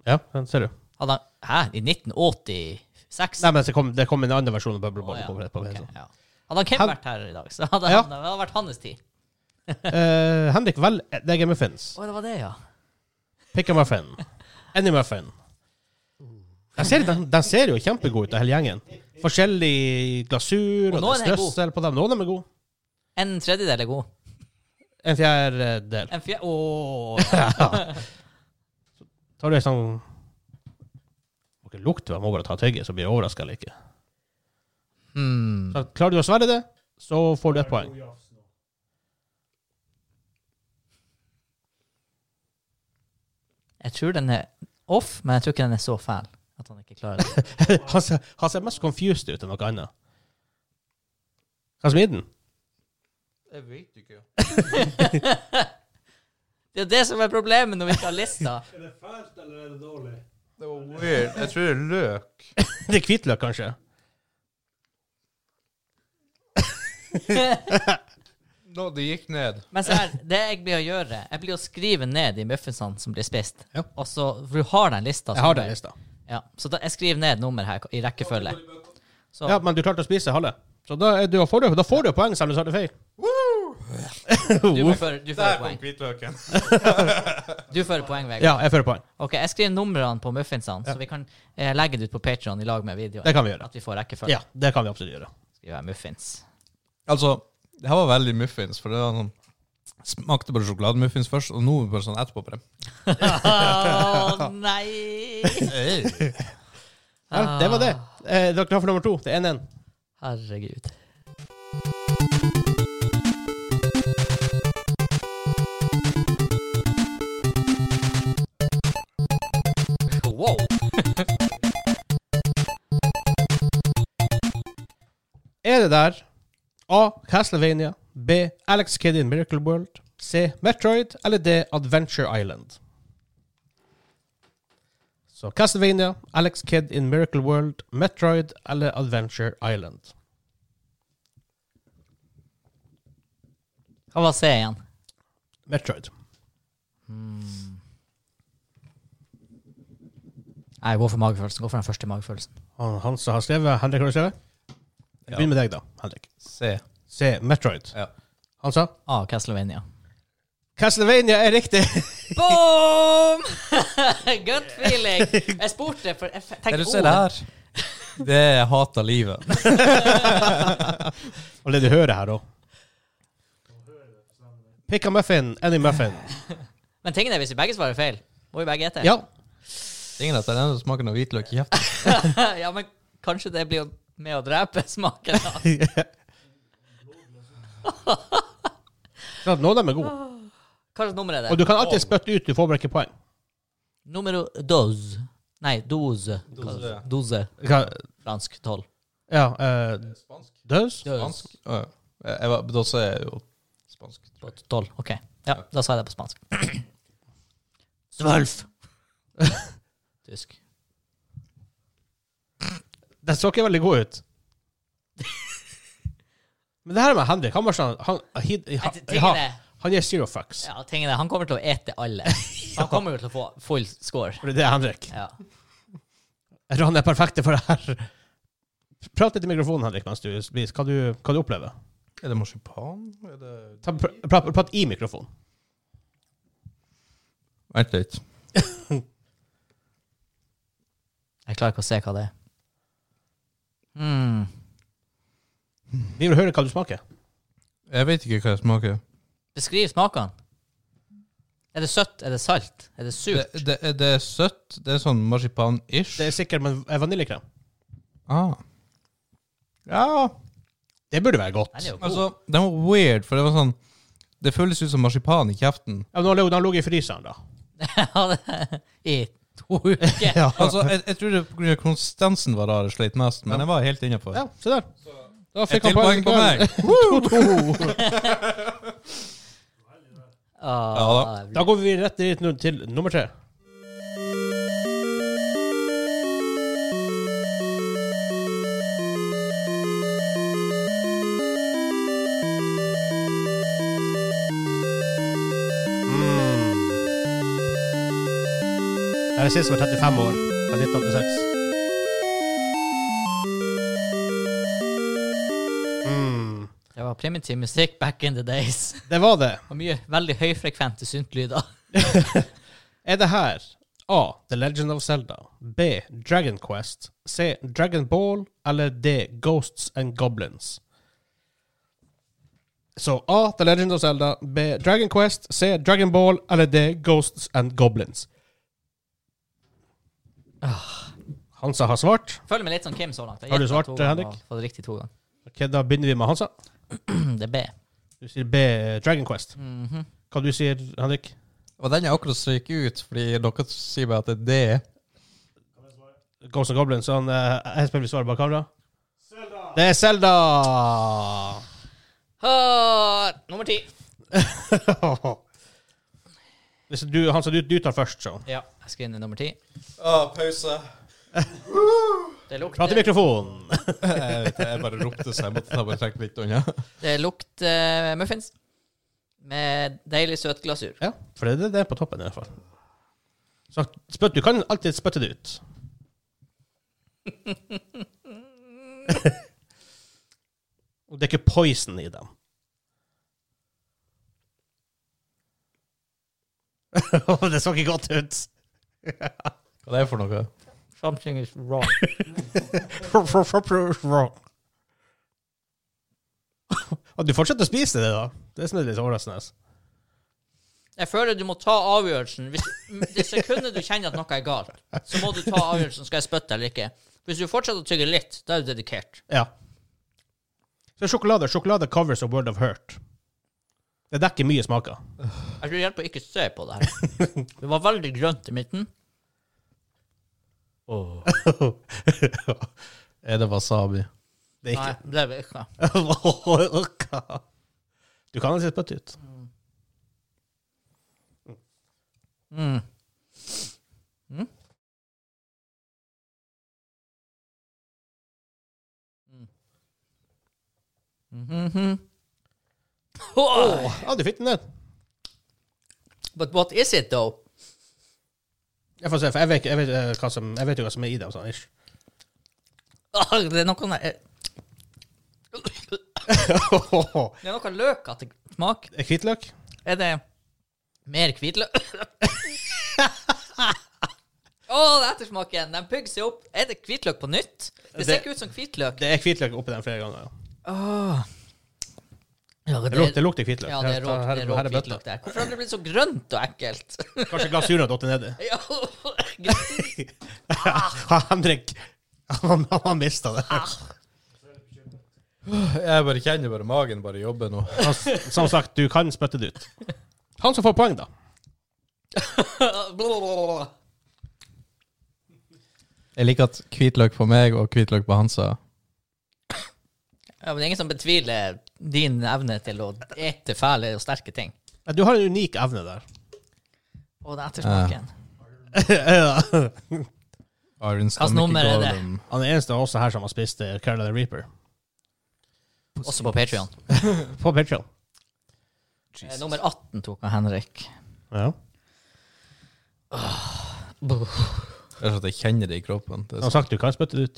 Ja, den ser du.
Hadde han Hæ? I 1986?
Nei, men så kom, det kom en annen versjon av Bubble Bobble.
Å, ja.
på, på, på,
Ok, ja. Hadde han Kim
Han-
vært her i dag, så hadde
Ja.
han, det hadde vært hans tid.
Eh, Henrik, vel, det er muffins.
Å, det var det, ja.
Pick a muffin. Any muffin. Den ser, den, den ser jo kjempegod ut, den hele gjengen. Forskjellig glasur,
Og
og,
noen
det er
er god.
strøssel på dem. Noen av dem er gode.
En tredjedel er god.
En fjerdedel.
En fjerde Ååå.
Tar du en sånn Dere lukter jeg må bare ta tygget, så blir jeg overraska eller ikke.
Hmm.
Så klarer du å svelge det, så får du et poeng.
Jeg tror den er off, men jeg tror ikke den er så fæl at han ikke klarer det.
han, ser, han ser mest confused ut enn noe annet. Hva som er i den?
Jeg vet ikke.
Det er det som er problemet når vi ikke har lista.
Er det fælt, eller er det dårlig?
Det var weird. Jeg tror det er løk.
Det er hvitløk, kanskje?
Nå, det gikk ned.
Men så her, det jeg blir å gjøre, jeg blir å skrive ned de muffinsene som blir spist.
Ja.
Og så, For du har den lista.
Jeg
som
har
du-
det i lista.
Ja, så da, jeg skriver ned nummer her i rekkefølge. Så
Ja, men du klarte å spise halve. Så da, er du, får du, da får du poeng, selv om du svarte feil.
du må føre- du fører poeng.
hvitløken.
Du fører poeng, Vegard.
Ja, jeg fører poeng.
Ok, jeg skriver numrene på muffinsene, så vi kan eh, legge det ut på Patreon i lag med videoen.
Det kan vi gjøre.
At vi får rekkefølge.
Ja, det kan vi absolutt gjøre.
Skriver jeg muffins.
Altså, det her var veldig muffins, for det var sånn Smakte bare sjokolademuffins først, og nå er det bare sånn etterpå. Bare.
Å nei!
Hey.
Ja, det var det. Eh, dere er klar for nummer to. Det er 1-1.
Herregud. Wow.
er det der A. Castlevania. B. Alex Kidd in Miracle World. C. Metroid. Eller D. Adventure Island. Så Castlevania, Alex Kidd in Miracle World, Metroid eller Adventure Island.
Hva var C igjen? Hmm.
Metroid.
Nei, Jeg går for magefølelsen. Går for den første magefølelsen.
Han, han som har skrevet Henrik, har du skrevet?
Ja.
Begynn med deg, da. Henrik.
C.
C. Metroid.
Ja.
Han sa
Ah, Castlevania.
Castlevania er riktig!
Boom! Good feeling. Jeg spurte, for jeg f-
Det
tenkte
du ser her, det er jeg hater livet.
Og det du hører her, da. Pick a muffin, any muffin.
Men tingen er, hvis vi begge svarer feil, må vi begge ete.
Ja.
Ingen at det er den smaken av hvitløk i kjeften.
ja, men kanskje det blir med å drepe smaken. da.
Så at Noen av dem er gode.
Hva slags nummer er
Og
det?
du kan alltid spytte ut, du får bare ikke poeng.
Nummer dos. Nei, doze.
Doze.
Doze.
Hva-
Fransk tolv.
Ja, eh, Døs?
Spansk? Å, ja. Jeg var, da sa jeg jo spansk.
På tolv. OK. Ja, da sa jeg det på spansk. Svølf. Tysk.
Den så ikke veldig god ut. Men det her med Henrik Hammarstrand Han, han, han,
Tingene,
han, han gir zero fucks.
ja, tingene, han kommer til å ete alle. Han kommer jo til å få full score.
For det er Henrik.
Ja.
Jeg tror han er perfekt for det her. Prat litt i mikrofonen, Henrik, mens du spiser. Hva, du, hva du opplever
Er det marsipan? Er det
Ta, pr prat, prat i mikrofonen.
Vent litt.
Jeg klarer ikke å se hva det er. Mm.
Vi vil høre hva du smaker.
Jeg vet ikke hva det smaker.
Beskriv smakene. Er det søtt? Er det salt? Er det
Det,
surt?
det, er- det er søtt. Det er sånn marsipan-ish.
Det er sikkert men eh, vaniljekrem.
Ah. Ja
Det burde være godt.
Den er jo god.
Altså, den var weird, for det var sånn Det føles ut som marsipan i kjeften.
Ja, men Den lå i fryseren, da.
I to uker.
Ja.
Altså, jeg, jeg tror det er på grunn av konsistensen var rar jeg sleit mest, men jeg var helt innafor.
ja, se der. Da
Et til poeng på meg.
Ah,
Da går vi rett dit nå til nummer tre. Det Mm. er sist var 35 år, fra 1986. Mm.
Det var primitiv musikk back in the days.
Det var det.
Og mye veldig høyfrekvente syntlyder.
Er det her A. The Legend of Zelda B. Dragon Quest C. Dragon Ball eller D. Ghosts and Goblins Så A. The Legend of Zelda B. Dragon Quest C. Dragon Ball eller D. Ghosts and Goblins Ah, Hansa har svart.
Følg med litt som Kim så langt. Jeg
Har du
gjetter
svart,
to ganger
Henrik?
og Fått det riktig to ganger.
Ok, Da begynner vi med Hansa.
Det er B.
Du sier B. Dragon Quest.
Mhm.
Hva du sier Henrik?
Og den jeg akkurat strøyk ut, fordi dere sier meg at det er det.
Ghosts and Goblins. Han, eh, Espen vil svare bak kamera. Det er Zelda!
Ah, nummer ti.
Hvis du, han sa du, du tar først, så.
Ja, jeg skal inn i nummer ti.
Ah, pause.
Det
Prat i
lukter,
mikrofonen!
jeg, vet, jeg bare ropte, så jeg måtte ta bare trekke litt unna.
det lukter eh, muffins. Med deilig søt glasur.
Ja, for det er det på toppen, i hvert fall. Så spytt, du kan alltid spytte det ut. Og det er ikke poison i dem. det så ikke godt ut.
Hva det er for noe?
Something is wrong.
Og du fortsetter å spise det, da. Det er som er litt overraskende.
Jeg føler du må ta avgjørelsen. Hvis, det sekundet du kjenner at noe er galt, så må du ta avgjørelsen. Skal jeg spytte eller ikke? Hvis du fortsetter å tygge litt, da er du dedikert.
Ja. Så sjokolade sjokolade covers a world of hurt. Det dekker mye smaker.
Jeg tror det hjelper å ikke se på det her. Det var veldig grønt i midten.
Er det wasabi?
Det er
Nei,
ikke
det er ikke.
Du kan jo se spøtt ut.
Mm. Mm. Mm. Mhm. Oh,
Ja, du fikk den ned.
but what is it, though?
Jeg får se, for jeg vet, ikke- jeg vet, eh, hva som, jeg vet jo hva som er i det. og Sånn, ish.
Ah, Det er noe Det er noe løkete smak.
Hvitløk?
Er det mer hvitløk Å, det er ettersmaken! Den bygger seg opp. Er det hvitløk på nytt? Det ser
Det-
ikke ut som hvitløk.
Det er hvitløk oppi den flere ganger. Ja.
Åh. Ja,
Det, lukter, det lukter hvitløk.
Ja, det er rå,
Her- her-
det er rå
her er bøtta.
hvitløk der. Hvorfor har det blitt så grønt og ekkelt?
Kanskje glasuren har datt nedi.
Ja, Ah.
Henrik han, han har mista det.
Jeg bare kjenner bare magen bare jobber nå.
Han, som sagt, du kan spytte det ut. Han som får poeng, da.
Blablabla.
Jeg liker at hvitløk på meg og hvitløk på Hansa
ja, men det er ingen som betviler din evne til å ete fæle og sterke ting.
Nei, Du har en unik evne der.
Og den ettersmaken.
Arons
Hvilket nummer er det?
Han er eneste av oss her som har spist eh, Carolina Reaper.
Også på Patreon. Eh,
På Patreon.
Nummer 18 tok han Henrik.
Ja.
Det er sånn at jeg kjenner det i kroppen. Det
Han
er sånn-
har sagt du kan spytte det ut.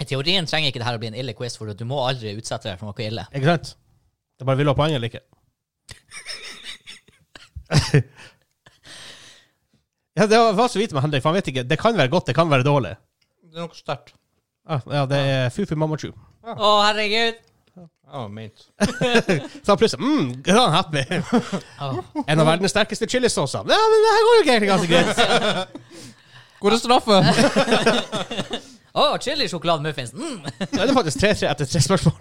I teorien trenger ikke det her å bli en ille quiz, for du må aldri utsette deg for noe ille.
Ikke sant? Det er bare vil du ha poeng eller ikke? ja, det var- var så vidt med Henrik, for han vet ikke. Det kan være godt, det kan være dårlig.
sånn- det er noe sterkt.
Ja, Ah, ja det er Fufu Mamma Chu.
Å, herregud!
Ja, ment.
Så han plutselig mm, da er han happy.
Åh.
En av verdens sterkeste chilisauser. Ja, men det her går jo egentlig ganske greit.
Hvor er straffe?
Åh, chili sjokolademuffins. Mm.
Da er det faktisk 3-3 etter tre spørsmål.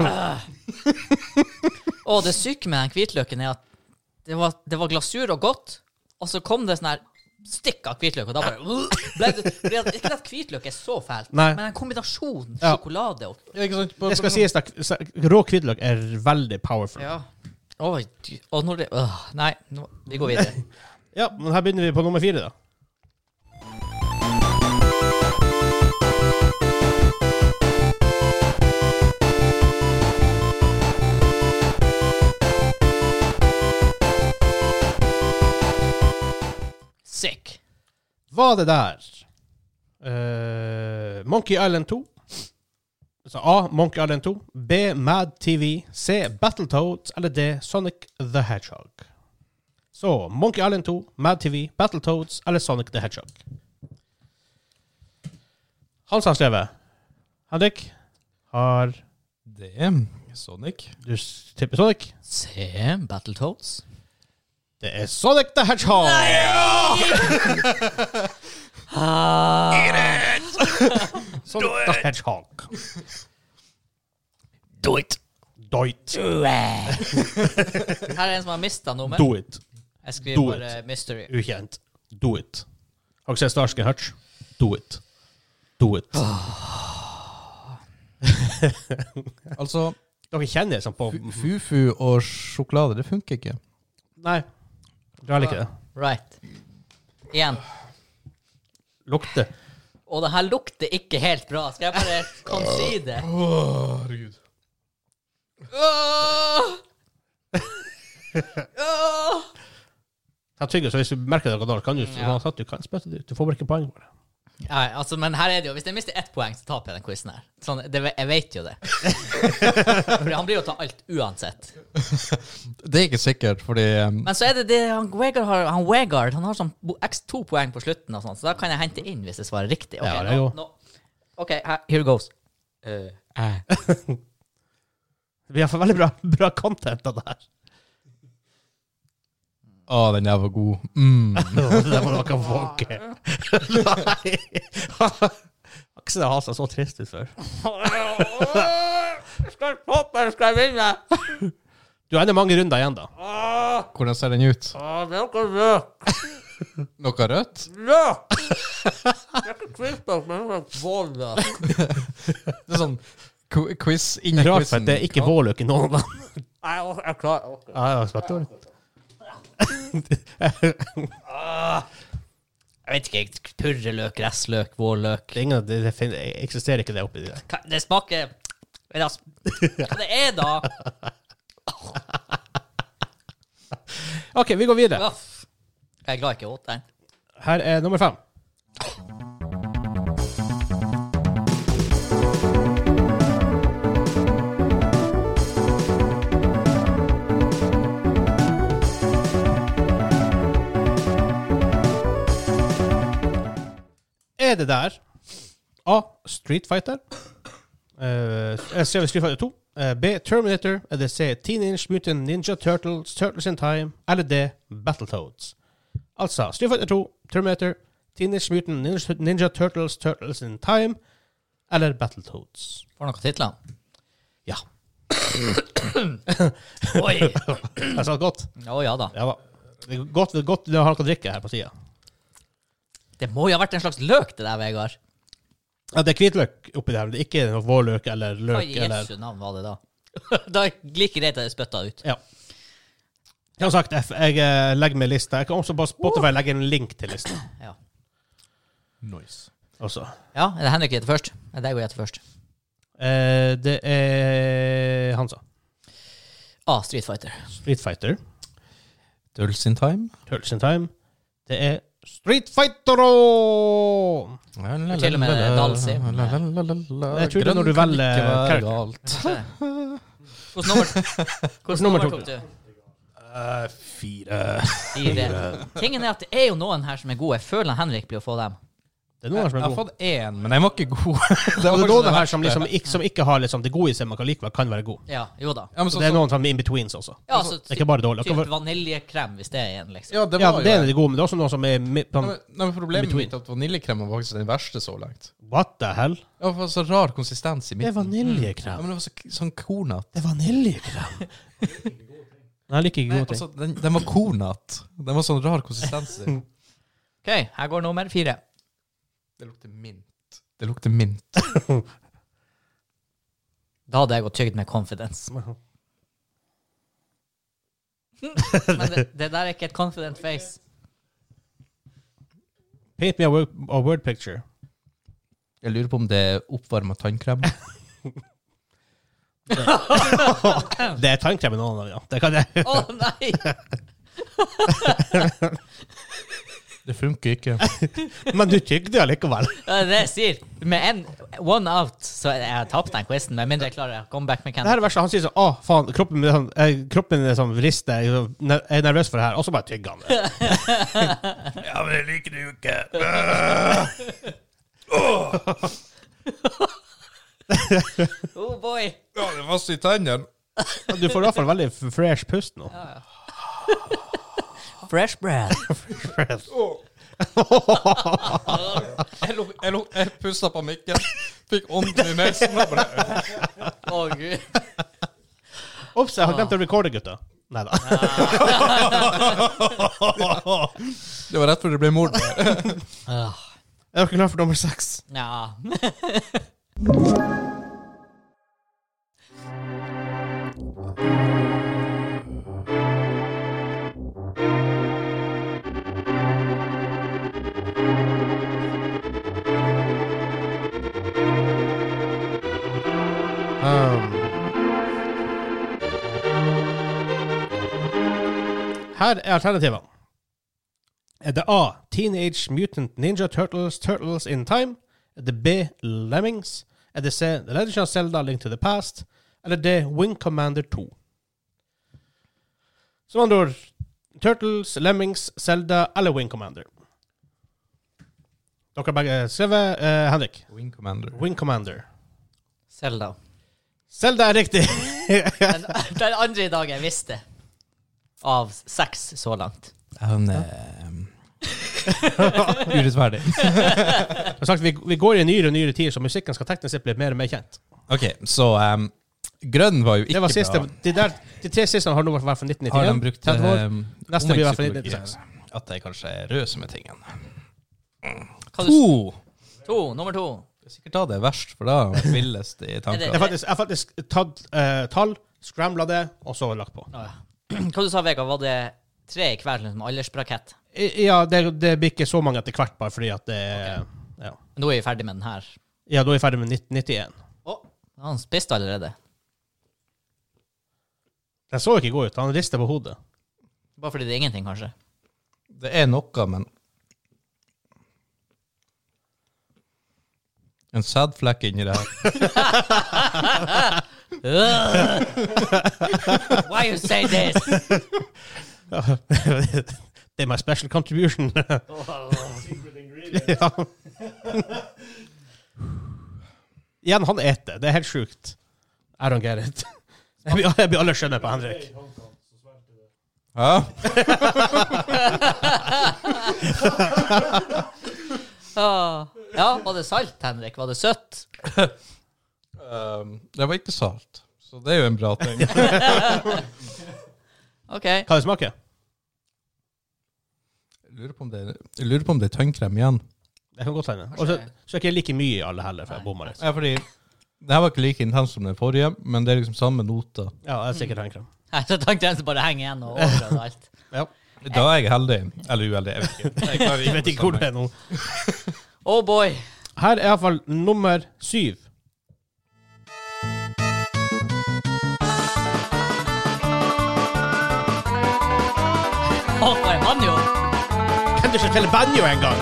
Og det syke med den hvitløken er at det var, det var glasur og godt, og så kom det sånn her stikk av hvitløk, og da bare ble det, ble det, Ikke at hvitløk er så fælt,
Nei.
men en kombinasjon
Ja.
sjokolade og
Ja, ikke sant? På-
Det skal sies at rå hvitløk er veldig powerful.
Ja. Oi, dy- og når det øh, Nei, nå, vi går videre.
Ja, men her begynner vi på nummer fire, da.
Sick.
Var det der eh, Monkey Island 2? Altså A. Monkey Island 2. B. Mad TV. C. Battletoads. Eller D. Sonic the Hedgehog. Så Monkey Island 2, Mad TV, Battletoads eller Sonic the Hedgehog. Hans har skrevet. Henrik har
Det er Sonic.
Du s- tipper Sonic?
Se, Battletoads.
Det er Sonic the Hedgehog! Sonic the Hedgehog.
Do it!
Do it.
Her er en som har mista nummer.
Do it.
Jeg
do
skriver bare mystery.
Ukjent. Do it. Har du sett Starsky Hutch? Do it. Do it.
Altså,
Dere kjenner liksom på
fu- fufu og sjokolade, det funker ikke.
Nei. Du er ikke det.
Right. Igjen.
Lukter.
Og det her lukter ikke helt bra. Skal jeg bare kan si det?
Åh, herregud.
Åh! Åh!
Ta Trygve, så hvis du merker det, da kan du,
Ja.
uansett, du kan spytte det ut. Du får bare ikke poeng for det.
Nei, altså, men her er det jo Hvis jeg mister ett poeng, så taper jeg den quizen her. Sånn, det, jeg vet jo det. Fordi han blir jo å ta alt uansett.
Det er ikke sikkert, fordi um,
Men så er det det han Wegard har Han Wegard han har sånn bo- x to poeng på slutten, og sånn, så da kan jeg hente inn hvis jeg svarer riktig. Ok,
Ja, det er
nå,
jo-
nå. OK, her, here goes. Eh, eh.
Vi har fått veldig bra, bra content av det her.
Å, den der var god. Mm.
Det var noe våke. Nei. Aksel har hatt seg så trist ut før.
skal jeg poppe, eller skal jeg vinne?
Du har ennå mange runder igjen, da. Ah,
Hvordan ser den ut?
Åh, det er noe mørkt.
Noe rødt?
Ja! Det er ikke Christmas, men det er vårløk.
Det er sånn qu- quiz
Det
inni
er rart, for
quizen.
at det er ikke vårløk i noen av dem.
Nei, jeg er klar. Okay.
Ja, det var svettorent.
Jeg vet ikke. jeg- Purreløk, ressløk,
Det
vårløk.
er ingen- Det det fin- eksisterer ikke det oppi der.
Hva- Det smaker Men altså, Hva det er, da?
OK, vi går videre.
Uff. Jeg er glad jeg ikke åt den.
Her er nummer fem. Er det der A. Street Fighter. Eh, jeg skrev Street Fighter 2. Eh, B. Terminator. Eller C. Teenage Mutant Ninja Turtles, Turtles in Time. Eller D. Battletoads. Altså Street Fighter 2, Terminator, Teenage Mutant Ninja, Ninja Turtles, Turtles in Time eller Battletoads.
Får noen titler?
Ja.
Oi!
Jeg sa det Altså, godt.
Å ja da.
Ja, da. det er godt, det er godt å ha noe å drikke her på sida.
Det må jo ha vært en slags løk, det der, Vegard.
Ja, det er hvitløk oppi der, men det er ikke noe vårløk eller
Hva
løk
i
eller
Jesu navn var det da? da er det like greit at det er spytta ut.
Ja. Som sagt, jeg, jeg eh, legger med lista. Jeg kan også på Spotify legge en link til lista.
Ja.
Nice.
Også.
ja, er det Henrik gjetter først? Er det jeg gjetter først?
Eh, det er Hansa.
Ah, Street Fighter.
Street Fighter.
Dulls in time?
Turtles in Time. Det er Street Fighter!
til og med Dalsi.
Jeg tror det er når du velger character.
galt.
Hvilket nummer, Hvilket nummer tok du?
Fire.
Fire. Tingen er at det er jo noen her som er gode. Jeg føler Henrik blir å få dem.
Det er noen
Jeg
her som er
har
god.
fått én, men den var ikke
Det
god.
er
faktisk
noen
det
her som,
verste.
liksom, ikke, som ikke har liksom, det gode i seg, men kan likevel kan være god.
Ja, jo da.
Ja, men
Så
sånn
det er
som-
noen som er in-betweens også.
Ja, altså,
Det er ikke bare dårlig. Det
typ
kan være-
vaniljekrem, hvis det er en, liksom.
ja, det
Ja,
var
det er
jo
de gode, men det er også noen som er mi-
Nei,
sånn,
men- nei, men Problemet
Between.
mitt er at vaniljekremen var faktisk den verste så langt.
What the hell?
Ja, for så rar konsistens i
Det er
midten. Mm. Ja,
vaniljekrem.
men det var så, sånn kornete.
Det er vaniljekrem. Nei, jeg liker ikke
Nei,
gode ting.
altså, den, den var kornete. Den var sånn rar konsistens. i.
OK, her går nummer fire.
Det lukter mint. Det lukter mint.
Da hadde jeg gått tygd med confidence. Men det, det der er ikke et confident face.
Paint me a word, a word picture.
Jeg lurer på om det er oppvarma tannkrem.
Det er tannkrem i noen av dem, ja. Det kan jeg.
Å nei!
Det funker ikke.
Men du tygde det allikevel.
Det er det jeg sier. Med en one out, så jeg har tapt den quizen. Med mindre jeg klarer comeback med
Det her
Kenneth.
er det verste. Han sier sånn Å, faen, kroppen min er sånn, eh, kroppen min er sånn vrister. Jeg er sånn ner- jeg er nervøs for det her. Og så bare tygger han det.
Ja, men jeg liker det jo ikke.
Oh boy!
Ja, det er fast i tennene.
Du får i hvert fall veldig f- fresh pust nå.
Fresh bread.
Jeg, luk, jeg, luk, jeg pusta på mikken, fikk ånden i nesen. og bare-
Å gud.
Ops, jeg har glemt å recorde, gutta. Nei da.
Det var rett før det ble mord.
Ah,
Er dere klar for nummer seks?
Ja.
Um. Her er alternativene. Er det A. Teenage Mutant Ninja Turtles Turtles in Time? Er det B. Lemmings? Er det C. The Legend of Zelda Link to the Past? Eller D. Wing Commander 2? Som andre ord Turtles, Lemmings, Zelda eller Wing Commander. Dere har begge skrevet. eh, Henrik.
Wing Commander.
Wing Commander.
Selda.
Zelda er riktig!
Den, den andre i dag jeg visste. Av seks så langt.
Han eh, Urettferdig.
Som sagt, vi, vi går i nyere og nyere tider, så musikken skal teknisk sett bli mer og mer kjent.
OK, så um, grønn var jo ikke
Det var siste,
bra.
de, der, de tre siste har nå vært fra
Har de
1991.
brukt
30 år.
um,
Neste blir i hvert fall
omvendtspsykologi?
1996.
At jeg kanskje er røs med tingene.
Hva du,
To!
to, nummer to.
Det er sikkert da det er verst, for da er det villest i
Jeg
tankene.
har faktisk, jeg har faktisk tatt eh, tall, scrambla det, og så lagt på.
Ah, ja. Hva du sa Vegard, var det tre i hver liksom, aldersbrakett?
I- Ja, det, det blir ikke så mange etter hvert, bare fordi at det ja.
Nå er vi ferdig med den her.
ja, da er vi ferdig med 1991.
Han spiste allerede.
Den så ikke god ut. Han rister på hodet.
Bare fordi det er ingenting, kanskje.
Det er noe, men En sædflekk inni det her.
Ugh. Why you say this?
det er my special contribution. ja. Igjen, han eter. Det er helt sjukt. I don't get it. Jeg blir, jeg blir alle skjønner på Henrik.
Ja,
Ah. Ja, var det salt, Henrik? Var det søtt?
ehm, det var ikke salt, så det er jo en bra ting.
OK.
Hva det smaker
Jeg lurer på om det, jeg lurer på om det er tannkrem igjen.
det? kan godt hende. Og så så er ikke jeg like mye i alle heller, for jeg bomma litt.
Ja, fordi det her var ikke like intens som den forrige, men det er liksom samme noter.
Ja, jeg er sikkert henkrem.
Nei, Så tannkrensen bare henger igjen og overprøver alt.
Da er jeg heldig. Eller uheldig, jeg vet ikke. Jeg klarer
Jeg vet ikke hvor det er nå.
Oh boy.
Her er iallfall nummer syv.
Oh, for en mann, jo.
Kan du ikke spille banjo engang?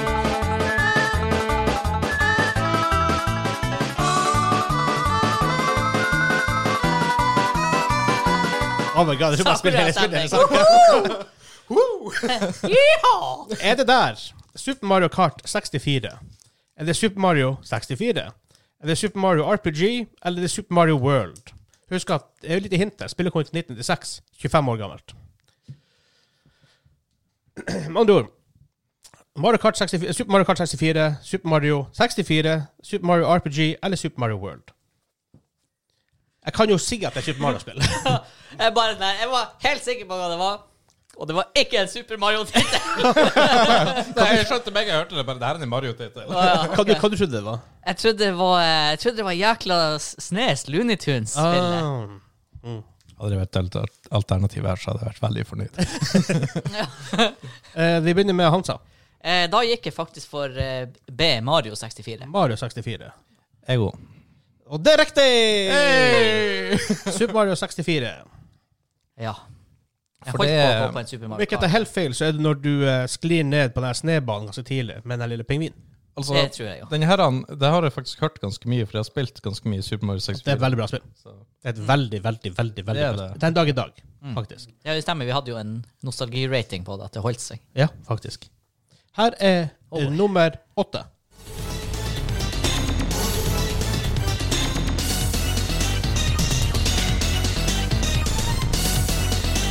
Oh my god, det er bare å spille hele spillet. liksom. hele sangen.
Yeehaw!
Er det der Super Mario Kart 64? Er det Super Mario 64? Er det Super Mario RPG? Eller er det Super Mario World? Husk at det er jo et lite hint der. Spillet kom ut i 1996, 25 år gammelt. Med andre ord Mario Kart 64, Super Mario Kart 64, Super Mario 64, Super Mario RPG eller Super Mario World. Jeg kan jo si at det er Super Mario-spill.
Jeg, bare, nei, jeg var helt sikker på hva det var. Og det var ikke en Super Mario-tittel.
Nei, jeg skjønte meg, jeg hørte det bare. Det her er en Mario-tittel.
Å, ja.
Hva, du- hva du trodde du det var?
Jeg trodde det var, jeg trodde det var jækla Snes, Looney Tunes-spillet.
Ah.
Hadde det vært et alt- alternativ her, så hadde jeg vært veldig fornøyd.
Eh, vi begynner med Hansa.
Eh, da gikk jeg faktisk for eh, B, Mario 64.
Mario 64.
Jeg òg.
Og det er riktig! Super Mario 64.
Ja. Jeg
For
holdt
det-
på å gå på en Super Mario
Hvilket er helt feil, så er det når du eh, sklir ned på den her snebanen ganske tidlig med den lille pingvinen.
Altså,
Det tror jeg, jo.
denne her, han- det har jeg faktisk hørt ganske mye, for jeg har spilt ganske mye Super Mario 64.
Det er et veldig bra spill.
Så-
Det er et veldig, veldig, veldig veldig
Det er
bra spill.
det. Mm.
Den dag i dag, faktisk.
Ja, det stemmer. Vi hadde jo en nostalgirating på det, at det holdt seg.
Ja, faktisk. Her er eh,
Oh.
nummer åtte.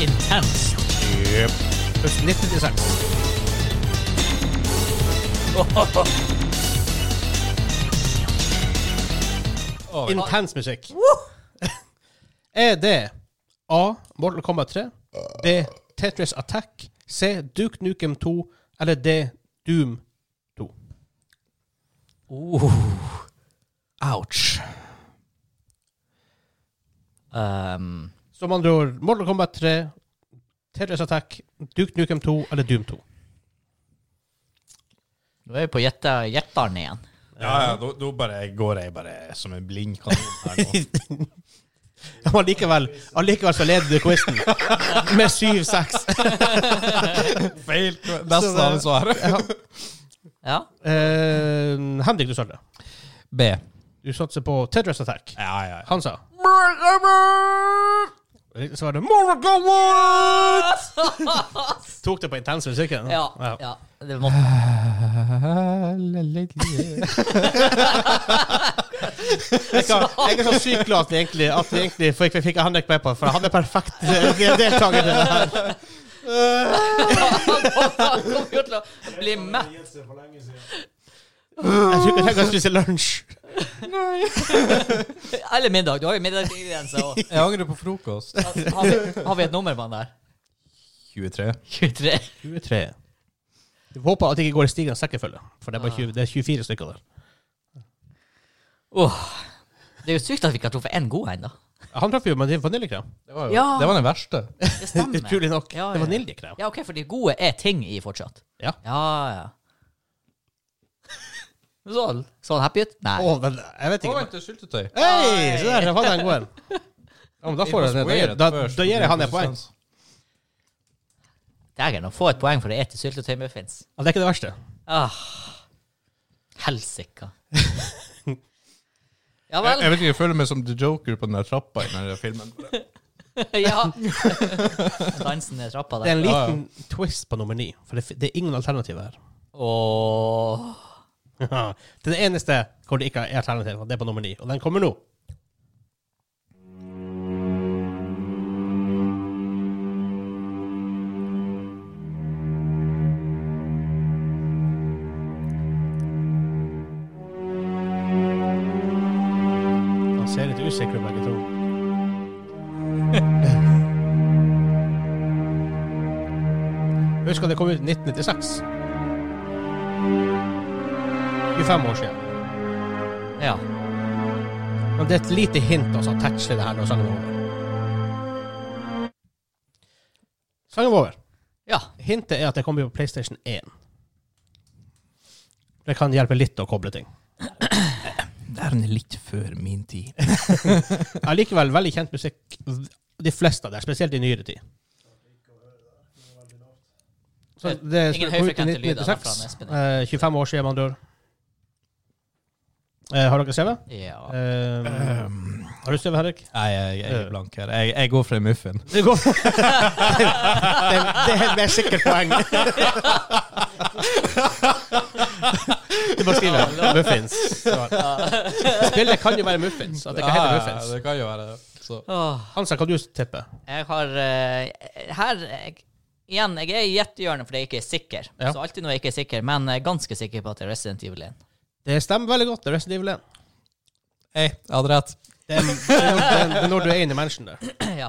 Intenst.
Pluss 1996.
Å,
Intens musikk. er det A. Mortal Kombat 3, B. Tetris Attack, C. Duke Nukem 2 eller D. Doom 2?
Ouch.
Um,
Som andre ord Mortal Kombat 3, Tetris Attack, Duke Nukem 2 eller Doom 2.
nå er vi på gjette- gjetteren igjen.
Ja, ja, nå bare går jeg bare som en blind kanin her nå.
Og allikevel, allikevel så leder du quizen med 7-6.
Feil. Nesten alle svarer.
Ja.
Eh, Henrik, du svarte.
B.
Du satser på Tetris Attack.
Ja, ja.
Han sa Så var det Mortal Kombat! Tok det på intens musikken?
Ja. ja. Det måtte.
Jeg, kan, jeg er så sykt glad at vi egentlig, at vi egentlig fikk, vi fikk Henrik med på for han er perfekt eh, deltaker til det her.
Han kommer jo til å bli mett.
Jeg tror ikke jeg trenger å spise lunsj.
Eller middag. Du har jo middagsingredienser òg.
Jeg angrer på frokost.
Har, vi- har vi et nummer på han der?
23.
23.
23. Vi får håpe at det ikke går i stigende sekkefølge, for det er, bare
Ah.
20, det er 24 stykker der.
Åh. Det er jo sykt at vi ikke har truffet én god ennå.
Han traff jo med vaniljekrem,
Det var, jo,
Ja.
det var den verste.
Det stemmer.
utrolig nok.
Ja,
Det er
ja.
vaniljekrem.
Ja, OK, for de gode er ting i fortsatt.
Ja.
Ja, ja. Sånn. Sånn happy ut? Nei.
Å, men jeg vet
Å,
ikke.
vent, det er syltetøy.
Hei, se der, der var det en god en. Ja, men da,
It
får
was
jeg, det. da,
weird
gir-
at
da,
first,
da gir jeg han et poeng.
konsistens.
Dægen, å få et poeng for å ete syltetøymuffins.
Ja, det er ikke det verste.
Ah. Helsika. Ja
Jeg,
vel.
jeg vet ikke, jeg føler meg som The Joker på den der trappa i den der filmen.
ja. Dansen ned trappa
Det er
der.
en
Ja, ja.
liten twist på nummer ni, for det, det er ingen alternativer her.
Åh.
det er det eneste hvor det ikke er alternativ, og det er på nummer ni, og den kommer nå. Han ser litt usikker ut, begge to. Husk at det kom ut i 1996. 25 år siden.
Ja.
Men det er et lite hint også å attach til det her når sangen er over. Sangen var over.
Ja.
Hintet er at det kommer på PlayStation 1. Det kan hjelpe litt å koble ting.
Den er litt før min tid.
Allikevel veldig kjent musikk, de fleste der, spesielt i nyere tid. Så det kom ut
Ingen
i
høyfrekvente lyder da fra
1996,
Espen.
eh, 25 år siden man dør. Eh, har dere CV?
Ja.
Eh, har du CV, Henrik?
Nei, jeg, jeg er blank her. Jeg, jeg går for en muffin.
Det går det, det er mer sikkert poeng. Du må skrive muffins. Spillet kan jo være muffins. At det kan hete
Ja,
muffins.
det kan jo være det. Så.
Åh.
Hansa, kan du tippe?
Jeg har eh, Her jeg, Igjen, jeg er i gjettehjørnet fordi jeg ikke er sikker.
Ja.
Så alltid når jeg ikke er sikker, men jeg er ganske sikker på at det er Resident Evil 1.
Det stemmer veldig godt. Det er Resident Evil 1.
Hei, jeg hadde rett.
Det er, det er, det er når du er inne i mennesken der.
ja.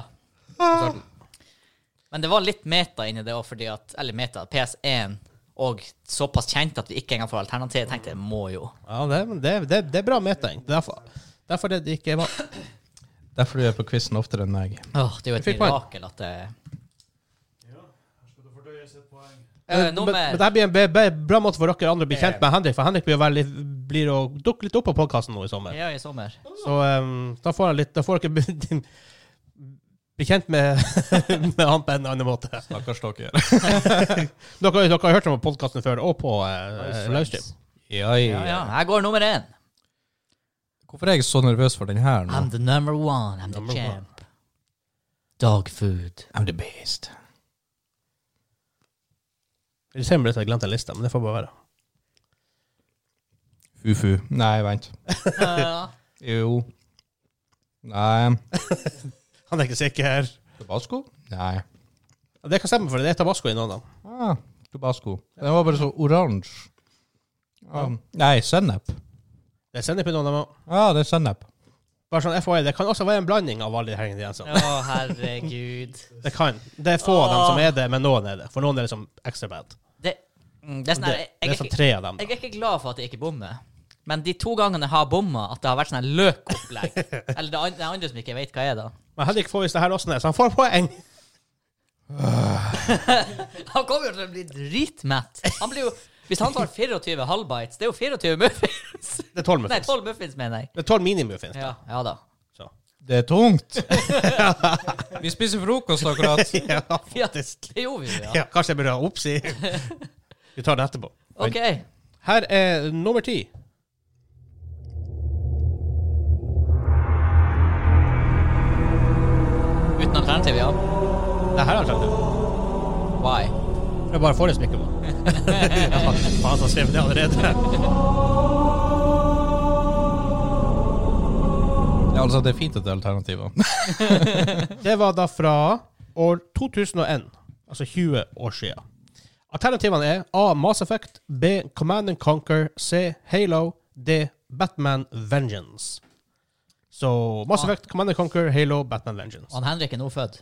Men det var litt meta inni det òg, fordi at Eller meta. PS1 og såpass kjent at vi ikke engang får alternativ. Jeg tenkte jeg må jo.
Ja, det, det, det, det er bra meting. Derfor, derfor det ikke var
Derfor du er på quizen oftere enn meg.
Åh, det er jo et
Jeg fikk poeng.
mirakel at det Eh,
Men, men,
nummer-
men det her blir en be- be- bra måte for dere andre å bli kjent med Henrik, for Henrik blir, jo veldig, blir å dukke litt opp på podkasten nå i sommer.
Ja, i sommer.
Så ehm, da får jeg litt Da får dere bli- bli kjent med, med han på en annen måte.
Stakkars dere.
Dere, dere har hørt om podkasten før, og på uh, livestream.
Ja,
Ja, ja. Her går nummer én.
Hvorfor er jeg så nervøs for den her nå?
I'm the number one. I'm
Number
the champ. Dog food.
I'm the best.
Det ser ut som jeg glemte en liste, men det får bare være.
Fufu. Nei, vent.
Ja.
Jo. Nei.
Han er ikke sikker.
Tabasco? Nei.
Det kan stemme, for det er tabasco i noen av dem.
Ah, tabasco. Den var bare så oransje. Ah, nei, sennep.
Det er sennep i noen av dem også.
Ja, det er sennep.
Bare sånn FYI, det kan også være en blanding av alle de hengende
Å,
grensene.
herregud.
Det kan. Det er få av dem som er det, men noen er det. For noen er liksom extra bad.
Det, mm, det er sånn
Det,
her jeg,
det
jeg,
er
er
sånn
ikke-
tre av dem.
jeg
Da.
er ikke glad for at jeg ikke bommer. Men de to gangene jeg har bomma, at det har vært sånn her løkopplegg Eller det andre, det andre som ikke jeg vet hva er, da.
Men Henrik får visst det her også ned, så han får poeng.
Han kommer jo til å bli dritmett. Han blir jo Hvis han tar 24 halvbites, det er jo 24 muffins.
Det er tolv
Nei,
muffins.
12 muffins, mener jeg.
Det er tolv minimuffins.
Ja, ja da.
Så.
Det er tungt. Vi spiser frokost akkurat.
Ja,
Ja,
faktisk.
Det gjorde vi jo, ja.
Ja, kanskje jeg burde ha oppsi. Vi tar det etterpå.
OK.
Her er nummer ti.
Uten alternativ, ja.
Det her er alternativ.
Why?
Jeg bare får en smykke på. Ja, Faen, så skrev det allerede.
Ja, altså, det er fint at det er alternativer.
Det var da fra år 2001. Altså 20 år siden. Alternativene er A. Mass Effect. B. Command and Conquer. C. Halo. D. Batman Vengeance. Så Mass
Ah.
Effect, Command and Conquer, Halo, Batman Vengeance.
Han Henrik er nå født.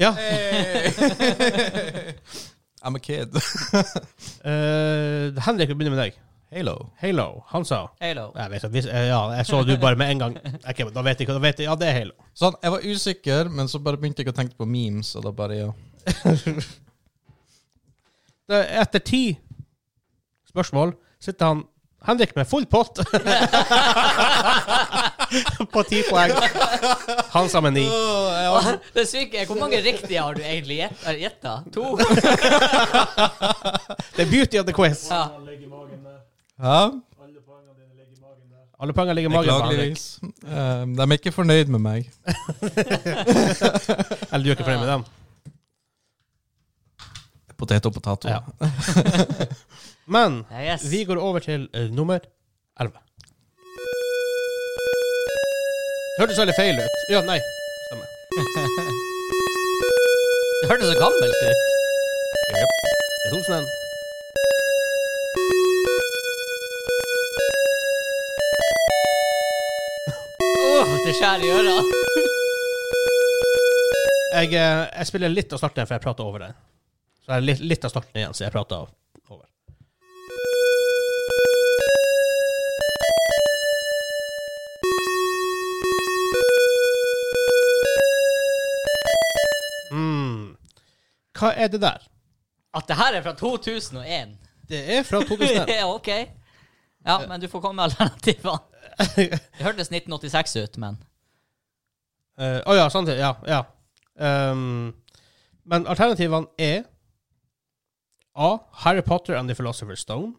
Ja.
I'm a kid.
Eh, Henrik, vi begynner med deg.
Halo.
Halo. Han sa
Halo.
jeg vet, at hvis, eh, Ja, jeg så du bare med en gang. Ok, men da vet jeg hva da vet jeg, Ja, det er Halo.
Sånn, jeg var usikker, men så bare begynte jeg å tenke på memes, og da bare ja.
Det, er etter ti spørsmål sitter han Henrik med full pott på ti poeng. Han sa med ni.
Det syke er hvor mange riktige har du egentlig gjett- har gjetta? To?
The beauty of the quiz.
Ja.
Hæ?
Alle poengene ligger i magen på Henrik.
Beklageligvis. Eh, de er ikke fornøyd med meg.
Eller du er ikke fornøyd med dem?
Potet og potet.
Ja. Men
Yes.
vi går over til eh, nummer 11. Hørtes veldig feil ut. Ja, nei. Stemmer.
Det hørtes så gammelt ut.
Det er Thomsen.
Åh, det skjærer i øra.
Jeg, eh, jeg spiller litt av starten igjen, for jeg prater over den. Så jeg er litt, litt av starten igjen, så jeg prater over. Mm. Hva er det der?
At det her er fra 2001.
Det er fra 2001.
Ja, ok. Ja, men du får komme med alternativene. Det hørtes 1986 ut, men
Eh, Å ja, samtidig. Ja. ja. Ehm, men alternativene er A. Harry Potter and the Philosopher's Stone.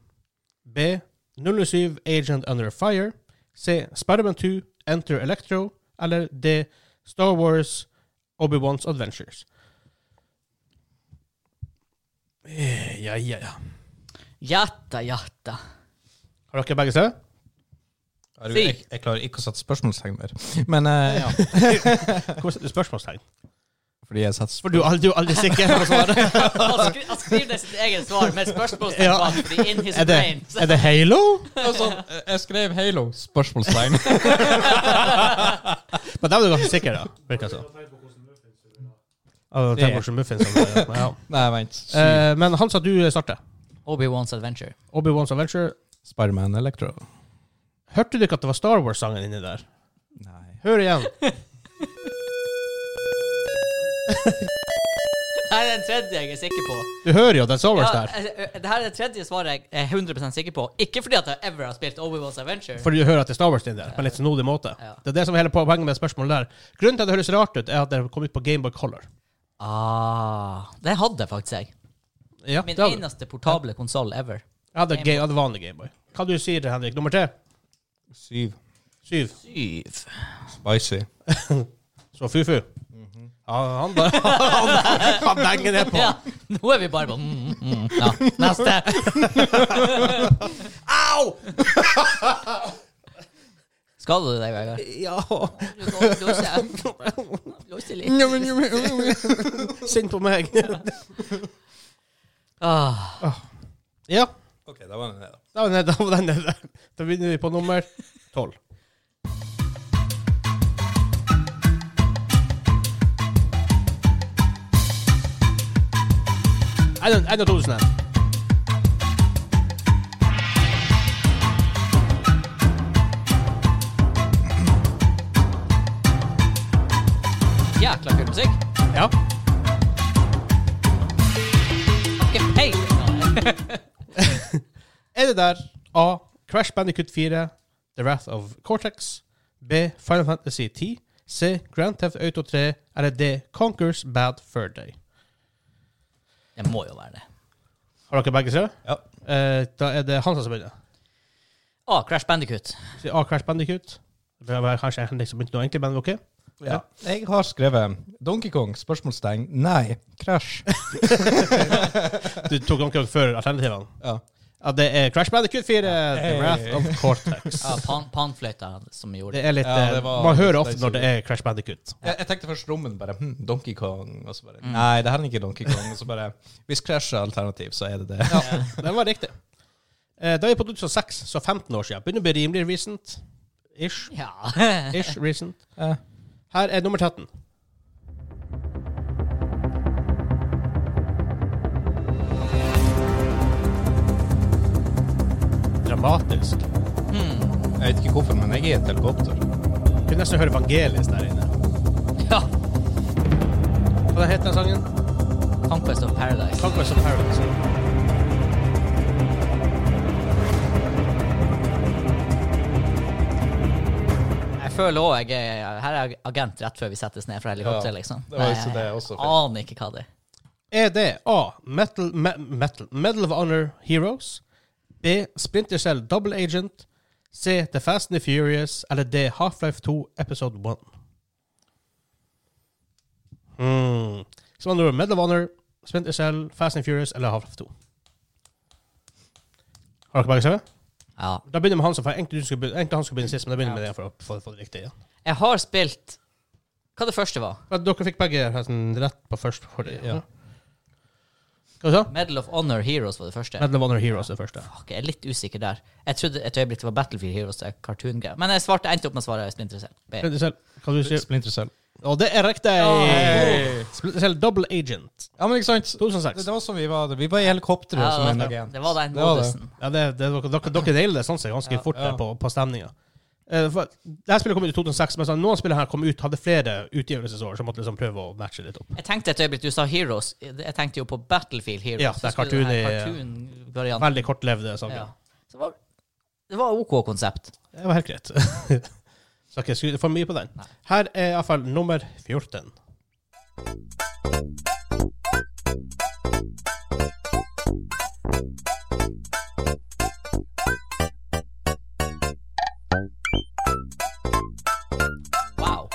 B. 07 Agent Under Fire. C. Spiderman 2 Enter Electro. Eller D. Star Wars Obi-Wans Adventures. Eh, Ja, ja, ja.
Jatta, jatta.
Har dere begge sett?
Herregud, Jeg, jeg klarer ikke å sette spørsmålstegn mer. Men eh, ja.
Hvorfor setter du spørsmålstegn?
Fordi jeg setter
For du er aldri, du er aldri sikker på svaret.
Han, skri, han skriver ned sitt eget svar med spørsmålstegn
Ja.
bak, fordi in his
Er det,
brain
er det Halo?
spørsmål. Sånn, eh, jeg skrev Halo. Spørsmålstegn.
Men da var du ganske sikker, da. Virker det som. Ja, det
Det-
er hvordan muffins han var, ja. Men ja.
Nei, vent. Uh,
Eh, men han sa du starter.
Obi-Wans Adventure.
Obi-Wans Adventure.
Spiderman Electro.
Hørte du ikke at det var Star Wars-sangen inni der?
Nei.
Hør igjen.
Nei, det er den tredje jeg er sikker på.
Du hører jo at det er Star Wars
Ja,
der.
eh, det her er det tredje svaret jeg er 100 sikker på. Ikke fordi at jeg ever har spilt Obi-Wans Adventure.
Fordi du hører at det er Star Wars inni der, på en litt snodig måte.
Ja.
Det er det som er hele poenget med spørsmålet der. Grunnen til at det høres rart ut, er at det kom ut på Gameboy Color.
Ah, det hadde faktisk jeg.
Ja,
Min
det hadde. du.
eneste portable konsoll ever.
Jeg hadde, ga- jeg hadde vanlig Gameboy. Hva du sier du, Henrik? Nummer tre?
Syv.
Syv.
Syv.
Spicy.
Så fufu. Ja, han bare Han, han denger ned på.
Ja, nå er vi bare på mm, mm. Ja, neste.
Au!
Skal du deg, Vegard?
Ja.
Blåser litt.
Synd på meg.
Ah,
Ja.
Ok, da var det det.
Da var den- da var den nede. Da begynner vi på nummer tolv. En- En av tusen her.
jækla kul musikk.
Ja.
Ikke feil.
Er det der A. Crash Bandicoot 4, The Wrath of Cortex. B. Final Fantasy 10. C. Grand Theft Auto 3. Eller D. Conquers Bad Fur Day.
Det må jo være det.
Har dere begge tre?
Ja.
Eh, da er det Hansa som begynner.
Å, Ah, Crash Bandicoot.
Så A. Crash Bandicoot. Det bør være kanskje Henrik som begynte nå, egentlig, men OK.
Ja. Jeg har skrevet Donkey Kong? Spørsmålstegn. Nei. Crash.
Du tok Donkey Kong før alternativene?
Ja.
Ja, det er Crash Bandicoot 4, The Wrath of Cortex.
Ja, Ah, pan, panfløyta som gjorde
Det
det.
er litt,
Ja, det
eh,
var
Man hører
litt
ofte når det er Crash Bandicoot.
Jeg, jeg tenkte først rommen bare hm, Donkey Kong. Og så bare
Mm.
Nei, det her er ikke Donkey Kong. Og så bare Hvis Crash er alternativ, så er det det.
Ja, den var riktig. Eh, Da er vi på 2006, så 15 år siden. Begynner å bli rimelig recent. Ish.
Ja.
Ish recent.
Eh,
Her er nummer 13. dramatisk.
Jeg vet ikke hvorfor, men jeg er i et helikopter.
Kunne nesten høre Vangelis der inne.
Ja.
Hva het den sangen?
Conquest of Paradise.
Conquest of Paradise.
Jeg føler også jeg er Her er jeg agent rett før vi settes ned fra helikopteret,
Ja,
liksom.
det var
Nei,
også det jeg også
jeg
fikk.
aner ikke hva det er.
Er det E A. Metal, me, metal, Medal of Honor Heroes B. Splinter Cell Double Agent C. The Fast and the Furious Eller D. Half-Life 2 Episode 1 hmm. Så man tror Medal of Honor Splinter Cell Fast and Furious Eller Half-Life 2 Har dere begge skrevet?
Ja.
Da begynner vi med han som for egentlig, du skulle begynne- egentlig han skulle begynne sist Men da begynner vi med det for å få, få det riktig ja.
Jeg har spilt Hva det første var?
Men Dere fikk begge sånn, rett på først forrige, ja. Hva du sa?
Medal of Honor Heroes var det første.
Medal of Honor Heroes er det første
Fuck, jeg er litt usikker der. Jeg trodde et øyeblikk det var Battlefield Heroes. Det er cartoon-greia. Men jeg svarte, endte opp med å svare Splinter Cell. B.
Splinter Cell, hva du sier
Splinter Cell.
Og det er riktig!
Hey.
Splinter Cell Double Agent.
Ja, men ikke sant? Det,
2006.
det var som vi var det. Vi var i helikopteret
Ja,
som
det,
en
var,
agent.
det var den
Det var det.
modusen.
Ja, det, det, dere, dere nailer det sånn sett ganske fort der
ja.
på, på stemninga. Eh, for det her spillet kom ut i 2006, mens noen spillere her kom ut, hadde flere utgivelsesår, så måtte liksom prøve å matche litt opp.
Jeg tenkte et øyeblikk du sa Heroes. Jeg tenkte jo på Battlefield Heroes.
Ja, det er
Så skulle det være
cartoon
cartoon-varianten.
Veldig kortlevde saker.
Ja. Så det var, det var OK konsept.
Det var helt greit. Skal ikke skryte for mye på den.
Nei.
Her er iallfall nummer 14.
Wow.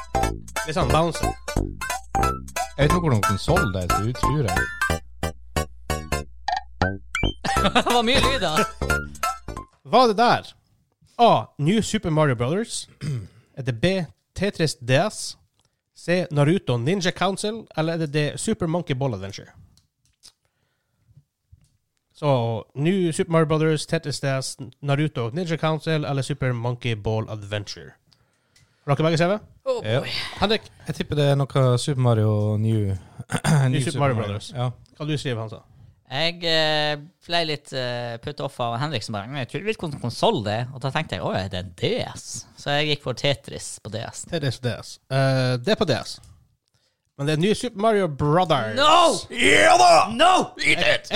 Litt sånn bouncer.
Jeg vet ikke hvordan konsoll det er, så du tror jeg.
det var mye lyder.
Var det der A. New Super Mario Brothers Er det B. Tetris DS C. Naruto Ninja Council Eller er det D. Super Monkey Ball Adventure Så New Super Mario Brothers Tetris DS Naruto Ninja Council Eller Super Monkey Ball Adventure Har dere begge CV?
Oh,
Ja.
boy.
Henrik,
Jeg tipper det er noe Super Mario New
New Super Mario Brothers.
Ja.
hva du skriver Hansa?
Jeg eh, ble litt uh, put off av Henrik som bare "Men Jeg tror hvilken konsoll det er. Og da tenkte jeg å, er det en DS? Så jeg gikk for Tetris på DS.
Tetris DS Eh, Det er på DS Men det er New Super Mario Brothers
No!
Ja da!
No! Eat it!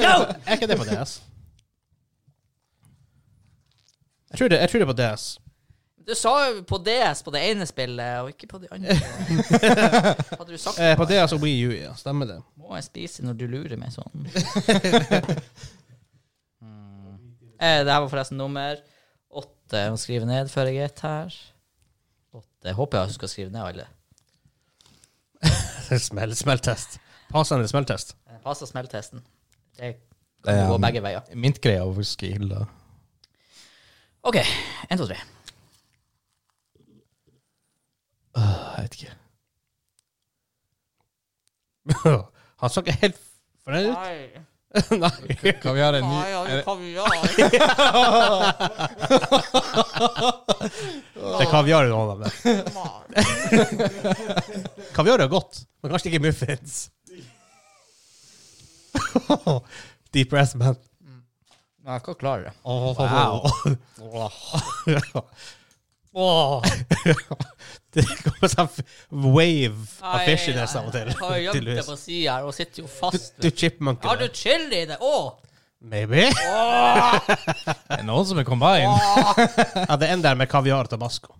No!
Er ikke det på DS? Jeg tror det, jeg tror det er på DS.
Du sa jo på DS på det ene spillet, og ikke på de andre. Hadde du sagt
Eh, på
noe?
DS og Wii U, ja. Stemmer det.
Må jeg spise når du lurer meg sånn? Mm. Eh, det her var forresten nummer åtte. Jeg må skrive ned før jeg gjetter her. Åtte. Håper jeg skal skrive ned alle.
Smell, smelltest. Passende smelltest.
Eh, Passer smelltesten. Det
Det
kan
er,
gå
um,
begge veier.
Mintgreia over skill, da.
OK. Én, to, tre.
Jeg vet ikke.
Han så ikke helt fornøyd ut. Nei.
Kan vi ha en ny er det-
kaviar.
Det er kaviar i hånda. men. Kaviar er godt, men kanskje ikke muffins. Deep breath, man.
Nei, jeg skal klare det.
Wow. Det kommer sånn wave av fishiness av og til.
Jeg har gjemt det
tydeligvis.
på sida her og sitter jo fast.
Du chipmunker.
Har du chili i det? Å!
Maybe.
er det noen som er combined?
Ja, det er en der med kaviar og tabasco.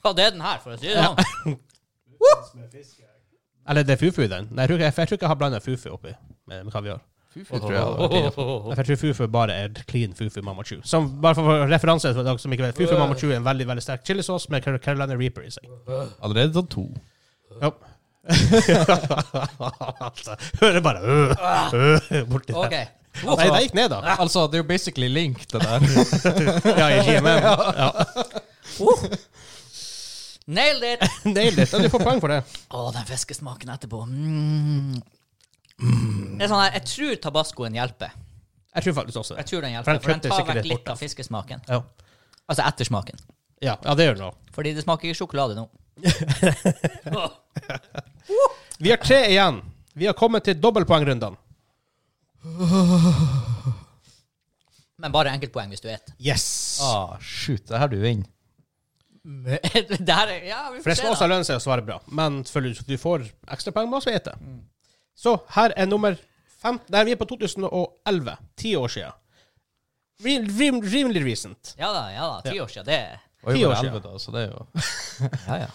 Ja, det er den her, for å si det sånn.
Eller det er fufu i den. Nei, jeg tror ikke jeg, jeg, tror ikke jeg har blanda fufu oppi med, med kaviar.
Fy, tror jeg hadde vært inne på.
Jeg tror fufu bare er clean fufu mamma chew. Som bare for referanse for dere som ikke vet, fufu mamma chew er en veldig veldig sterk chilisås med Car- Carolina Reaper i seg.
Allerede tatt to.
Ja. altså, hører bare øh, øh, borti der.
OK.
Nei, det gikk ned, da.
Altså, det er jo basically link, det der.
Ja, i GMM. Ja.
Uh. Nailed it!
Nailed it. Ja, Du får poeng for det.
Å, den fiskesmaken etterpå. Mm. Det er sånn her, Jeg tror tabascoen hjelper.
Jeg tror faktisk også det.
Jeg tror den
For
hjelper,
den
for den
kutter
tar
sikkert
vekk
litt
litt
bort,
av fiskesmaken.
Ja,
Altså ettersmaken.
ja, ja det gjør det nå.
Fordi det smaker ikke sjokolade nå.
Vi har tre igjen. Vi har kommet til dobbeltpoengrundene.
men bare enkeltpoeng hvis du et.
Yes!
Ah, shoot, det her du vinner.
det her er Ja,
For
vi får
det skal
se.
også
da.
lønne seg å svare bra, men selvfølgelig så du får ekstrapoeng med å svete.
Mm.
Så her er nummer fem. Der vi er på 2011, ti år siden. Rim- rim- Rimelig recent.
Ja da, ja da. Ti år siden. Det er
Oi,
Ti år
bare
siden.
11 da, så det er jo
Ja, ja.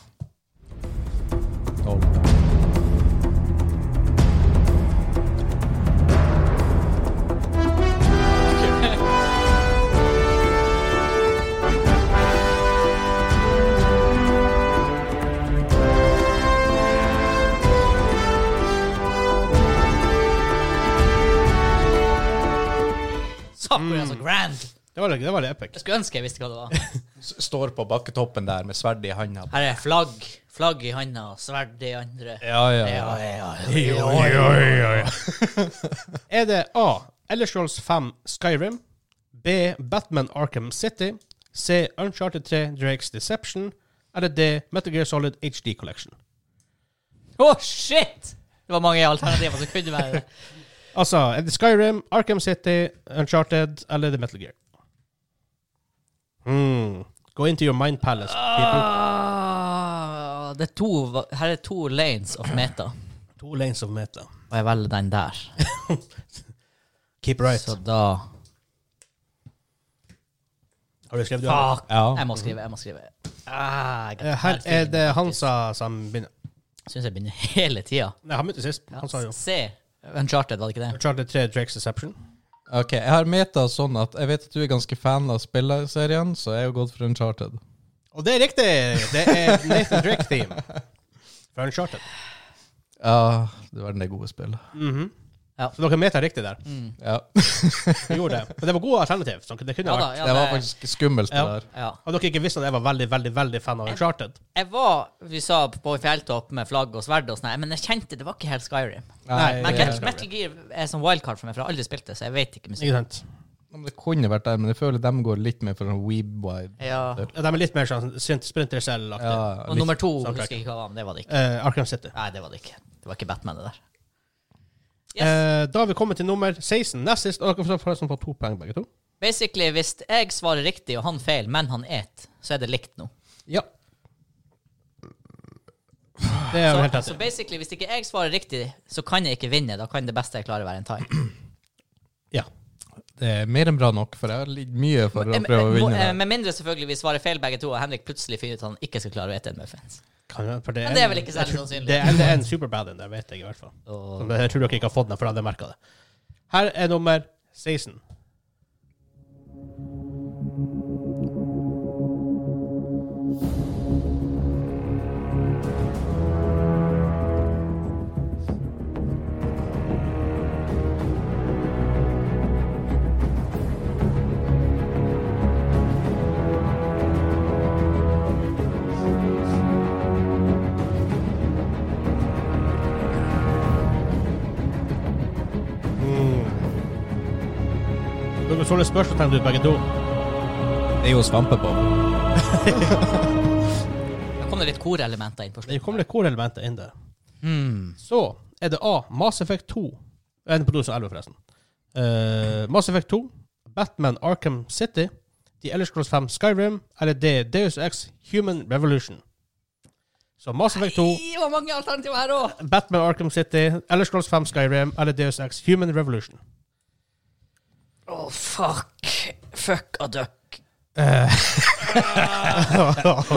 Sakura er så
Mm.
grand!
Det var, det var litt
Jeg
epic.
skulle ønske jeg visste hva det var.
S- Står på bakketoppen der med sverdet i handa.
Her er flagg. Flagg i handa og sverd i andre.
Ja, ja,
Ja,
ja.
ja,
Er det A. Elder Scrolls 5 Skyrim. B. Batman Arkham City. C. Uncharted 3 Drake's Deception. Eller D. Metal Gear Solid HD Collection.
Å, shit! Det var mange alternativer som kunne være det.
Altså, er det Skyrim, Arkham City, Uncharted eller er det Metal Gear? Hmm. Go into your mind palace, people.
Ah, det er to, her er to lanes of meta,
Two lanes of meta.
og jeg velger den der.
Keep right.
Så da
Har du skrevet det?
Fuck!
ja.
Jeg må skrive, jeg må skrive. Ah, jeg
Eh, Her er det Hansa som begynner.
Syns jeg begynner hele tida.
Nei, han begynte sist. Han sa jo
Se. Uncharted, var det ikke det?
Uncharted 3 Drake's Deception.
Ok, jeg har meta sånn at jeg vet at du er ganske fan av spillerserien, så jeg har gått for Uncharted.
Og det er riktig! Det er Nathan Drake-theme fra Uncharted.
Ja, det var det gode spillet.
Så dere meta riktig der.
Mm.
Ja.
Vi gjorde det. Men det var gode alternativ. Så det kunne
Ja da,
vært.
ja,
det var faktisk skummelt, det
Ja.
der.
ja.
Hadde dere ikke visst at jeg var veldig, veldig veldig fan av Uncharted?
Jeg var, vi sa, på en fjelltopp med flagg og sverd og sånn, her, men jeg kjente det var ikke helt Skyrim.
Nei,
Men
det
Metal,
er-
Metal Gear er sånn wildcard for meg, for jeg har aldri spilt det, så jeg vet ikke
Ikke
musikk.
sant?
Ja, men Det kunne vært der, men jeg føler de går litt mer for en weeb-vibe.
Ja.
Ja, de er litt mer sånn Sprint- Sprinter Cell-aktig.
Ja,
Og
litt-
nummer to
soundtrack.
husker jeg ikke hva det var, men det var det ikke.
Eh, Arkham City.
Nei, det var det ikke. Det var ikke Batman, det der. Yes.
Eh, da har vi kommet til nummer 16. Nest sist. Og dere får forresten få to poeng, begge to.
Basically, hvis jeg svarer riktig og han feil, men han et, så er det likt nå.
Ja. Det er
Så,
jo helt rett.
så basically, hvis ikke jeg svarer riktig, så kan jeg ikke vinne. Da kan det beste jeg klarer, være en tie.
Ja.
Det er mer enn bra nok, for jeg har litt mye for å
Eh,
prøve å
eh, må-
vinne.
eh,
der.
Med mindre selvfølgelig vi svarer feil begge to, og Henrik plutselig finner ut at han ikke skal klare å ete en muffins.
Kan, jo- for
Men det er vel ikke særlig
jeg tror-
sannsynlig.
Det er, det er en superbad en der, vet jeg i hvert fall.
Og-
Som Jeg tror dere ikke har fått den, for jeg hadde merka det. Her er nummer 16. Dere så litt spørsmålstegn ut, begge to.
Det er jo svampebob.
Da kom det litt korelementer inn på
Det
slutten.
kom litt korelementer inn der. Så er det A. Mass Effect 2. Eh, Den på 2011, forresten. Eh, Mass Effect 2, Batman Arkham City, The Elder Scrolls 5 Skyrim eller D. Deus X Human Revolution. Så Mass Effect 2
Ih, Det var mange alternativer her òg!
Batman Arkham City, Elder Scrolls 5 Skyrim eller Deus Ex Human Revolution.
Å, fuck. Fuck a duck.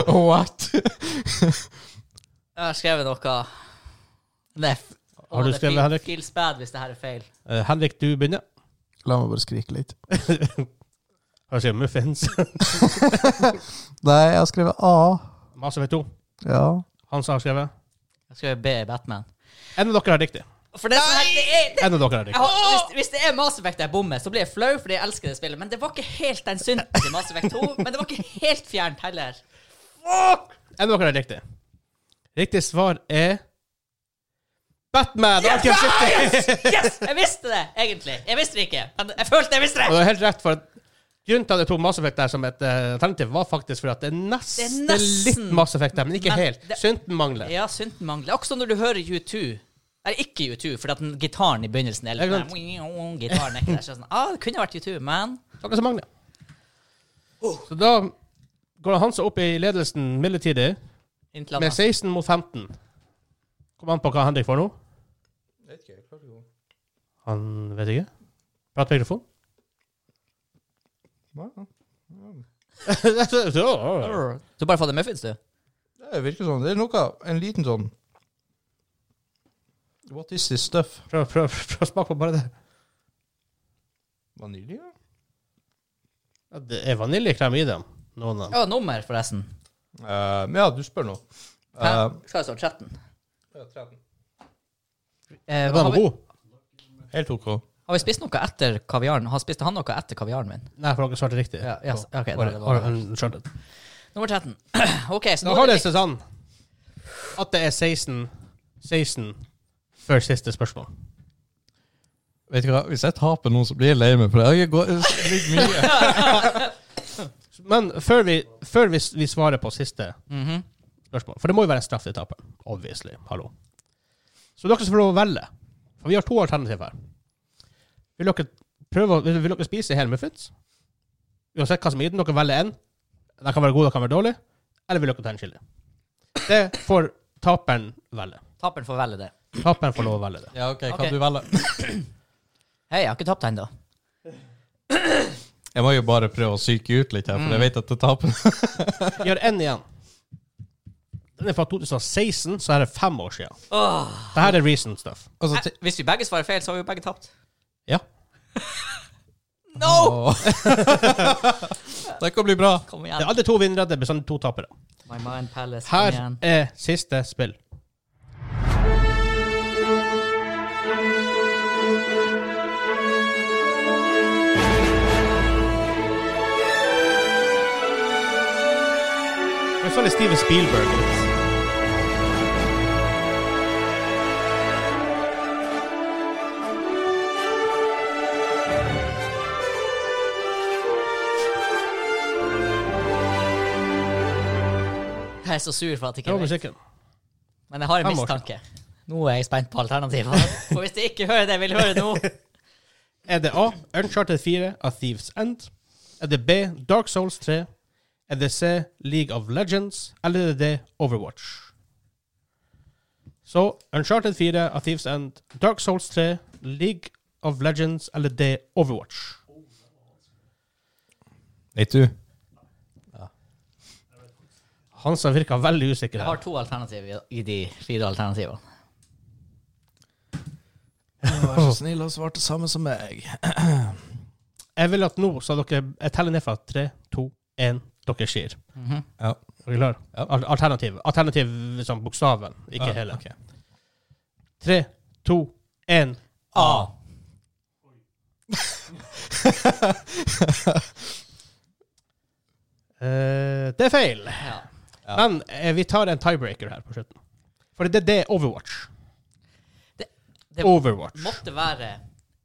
What?
Jeg har skrevet noe. Nei. f-
Har
Å,
du
det
skrevet,
feel-
Henrik?
Feels bad hvis det her er feil.
Eh, Henrik, du begynner.
La meg bare skrike litt.
Hva sier Muffins?
Nei, jeg har skrevet A.
Mass Effect 2.
Ja.
Hans har skrevet.
Jeg skrev B i Batman.
En av dere har riktig.
For det som er, det er, det,
En av dere har
jeg
riktig.
har, hvis, hvis det er Mass Effect jeg bommer, så blir jeg flau fordi jeg elsker det spillet. Men det var ikke helt den synten til Mass Effect 2. Men det var ikke helt fjernt heller.
En av dere har riktig. Riktig svar er Batman Arkham City!
Yes! Jeg visste det, egentlig. Jeg visste det ikke. Men jeg følte jeg visste
Og
det.
du har helt rett, for at grunnen til at jeg tok Mass Effect der som et eh, alternativ, var faktisk fordi at det er nesten,
Det er nesten-
litt Mass Effect der, men ikke
Men
helt.
det-
Synten mangler.
Ja, synten mangler. Akkurat som når du hører U2. Eller ikke U2, fordi at den gitaren i begynnelsen er litt
Jeg
sånn der, Gitaren er ikke der. Så jeg er sånn, ah, det kunne vært U2, men
Dere som mangler.
Oh.
Så da går han seg opp i ledelsen midlertidig,
Inntil
med
annet.
16 mot 15. Kommer an på hva Henrik får nå. Han vet ikke. Prat på mikrofon. Hva
Du har bare fått en muffins, du?
Det virker sånn. Det er noe En liten sånn What is this stuff?
Prøv, prøv, prøv å smake på bare det.
Vanilje?
Ja, det er vaniljekrem i dem. Noen av dem.
Ja, nummer, forresten.
Eh, ja, du spør nå. Eh,
Fem. Skal jeg stå 13?
Ja,
Eh,
Den
har,
var
vi,
god.
helt OK.
har vi spist noe etter kaviaren? Har spiste han noe etter kaviaren min?
Nei, for dere svarte riktig.
Ja, yes, ok, da,
Har-
det
har-
var det.
skjønt det.
Nummer 13. OK, så
Da
nå
har
er
det
det
seg sånn at det er 16 16 før siste spørsmål.
Vet du hva, Hvis jeg taper noen, så blir jeg lei meg. For jeg går ligger mye.
Men før vi, før vi, vi svarer på siste
Mhm.
spørsmål For det må jo være en straff til taperen. Obviously. Hallo. Så dere skal få lov å velge. For vi har to alternativer her. Vil dere, prøve, å- vil, vil dere spise hele muffins? Uansett hva som er i den, dere velger en. Den kan være god, den kan være dårlig. Eller vil dere ta en chili? Det får taperen velge.
Taperen får velge det.
Taperen får lov å velge det.
Ja, ok,
Ok.
Kan du velge?
Hei, jeg har ikke tapt ennå.
Jeg må jo bare prøve å psyke ut litt her, for jeg vet at jeg taper.
Vi har en igjen. Den er fra 2016, så her er det fem år siden.
Åh.
Det her er recent stuff.
Altså,
Eh, Hvis vi begge svarer feil, så har vi jo begge tapt.
Ja.
No!
det kan bli bra.
Kom
Det er
igjen.
aldri to vinnere, det blir sånn to tapere.
My mind palace. Kom
Her
igjen.
er siste spill. Det er sånn det er Steven Spielberg.
Jeg er så sur for at jeg
Det
ikke
var
vet.
musikken.
Men jeg har en
Fem år
mistanke. Nå er jeg spent på alternativet. For hvis jeg ikke hører det jeg vil høre nå
Er det A. Uncharted 4 av Thieves End? Er det B. Dark Souls 3? Er det C. League of Legends? Eller er det D. Overwatch? Så Uncharted 4 av Thieves End, Dark Souls 3, League of Legends eller D. Overwatch?
Vet du?
Han som virka veldig usikker
Jeg
her.
har to alternativer i de fire alternativene.
Vær så snill og svar det samme som meg.
Jeg vil at nå så dere Jeg teller ned fra 3, 2, 1. Dere sier.
Ja.
Er dere klare?
Ja.
Al- Alternativ. Alternativ som bokstaven, ikke
Ja,
hele.
ok.
3, 2, 1.
A.
Eh, det er feil.
Ja.
Ja.
Men eh, vi tar en tiebreaker her på slutten. For det, det er Overwatch.
Det- det-
Overwatch.
Måtte være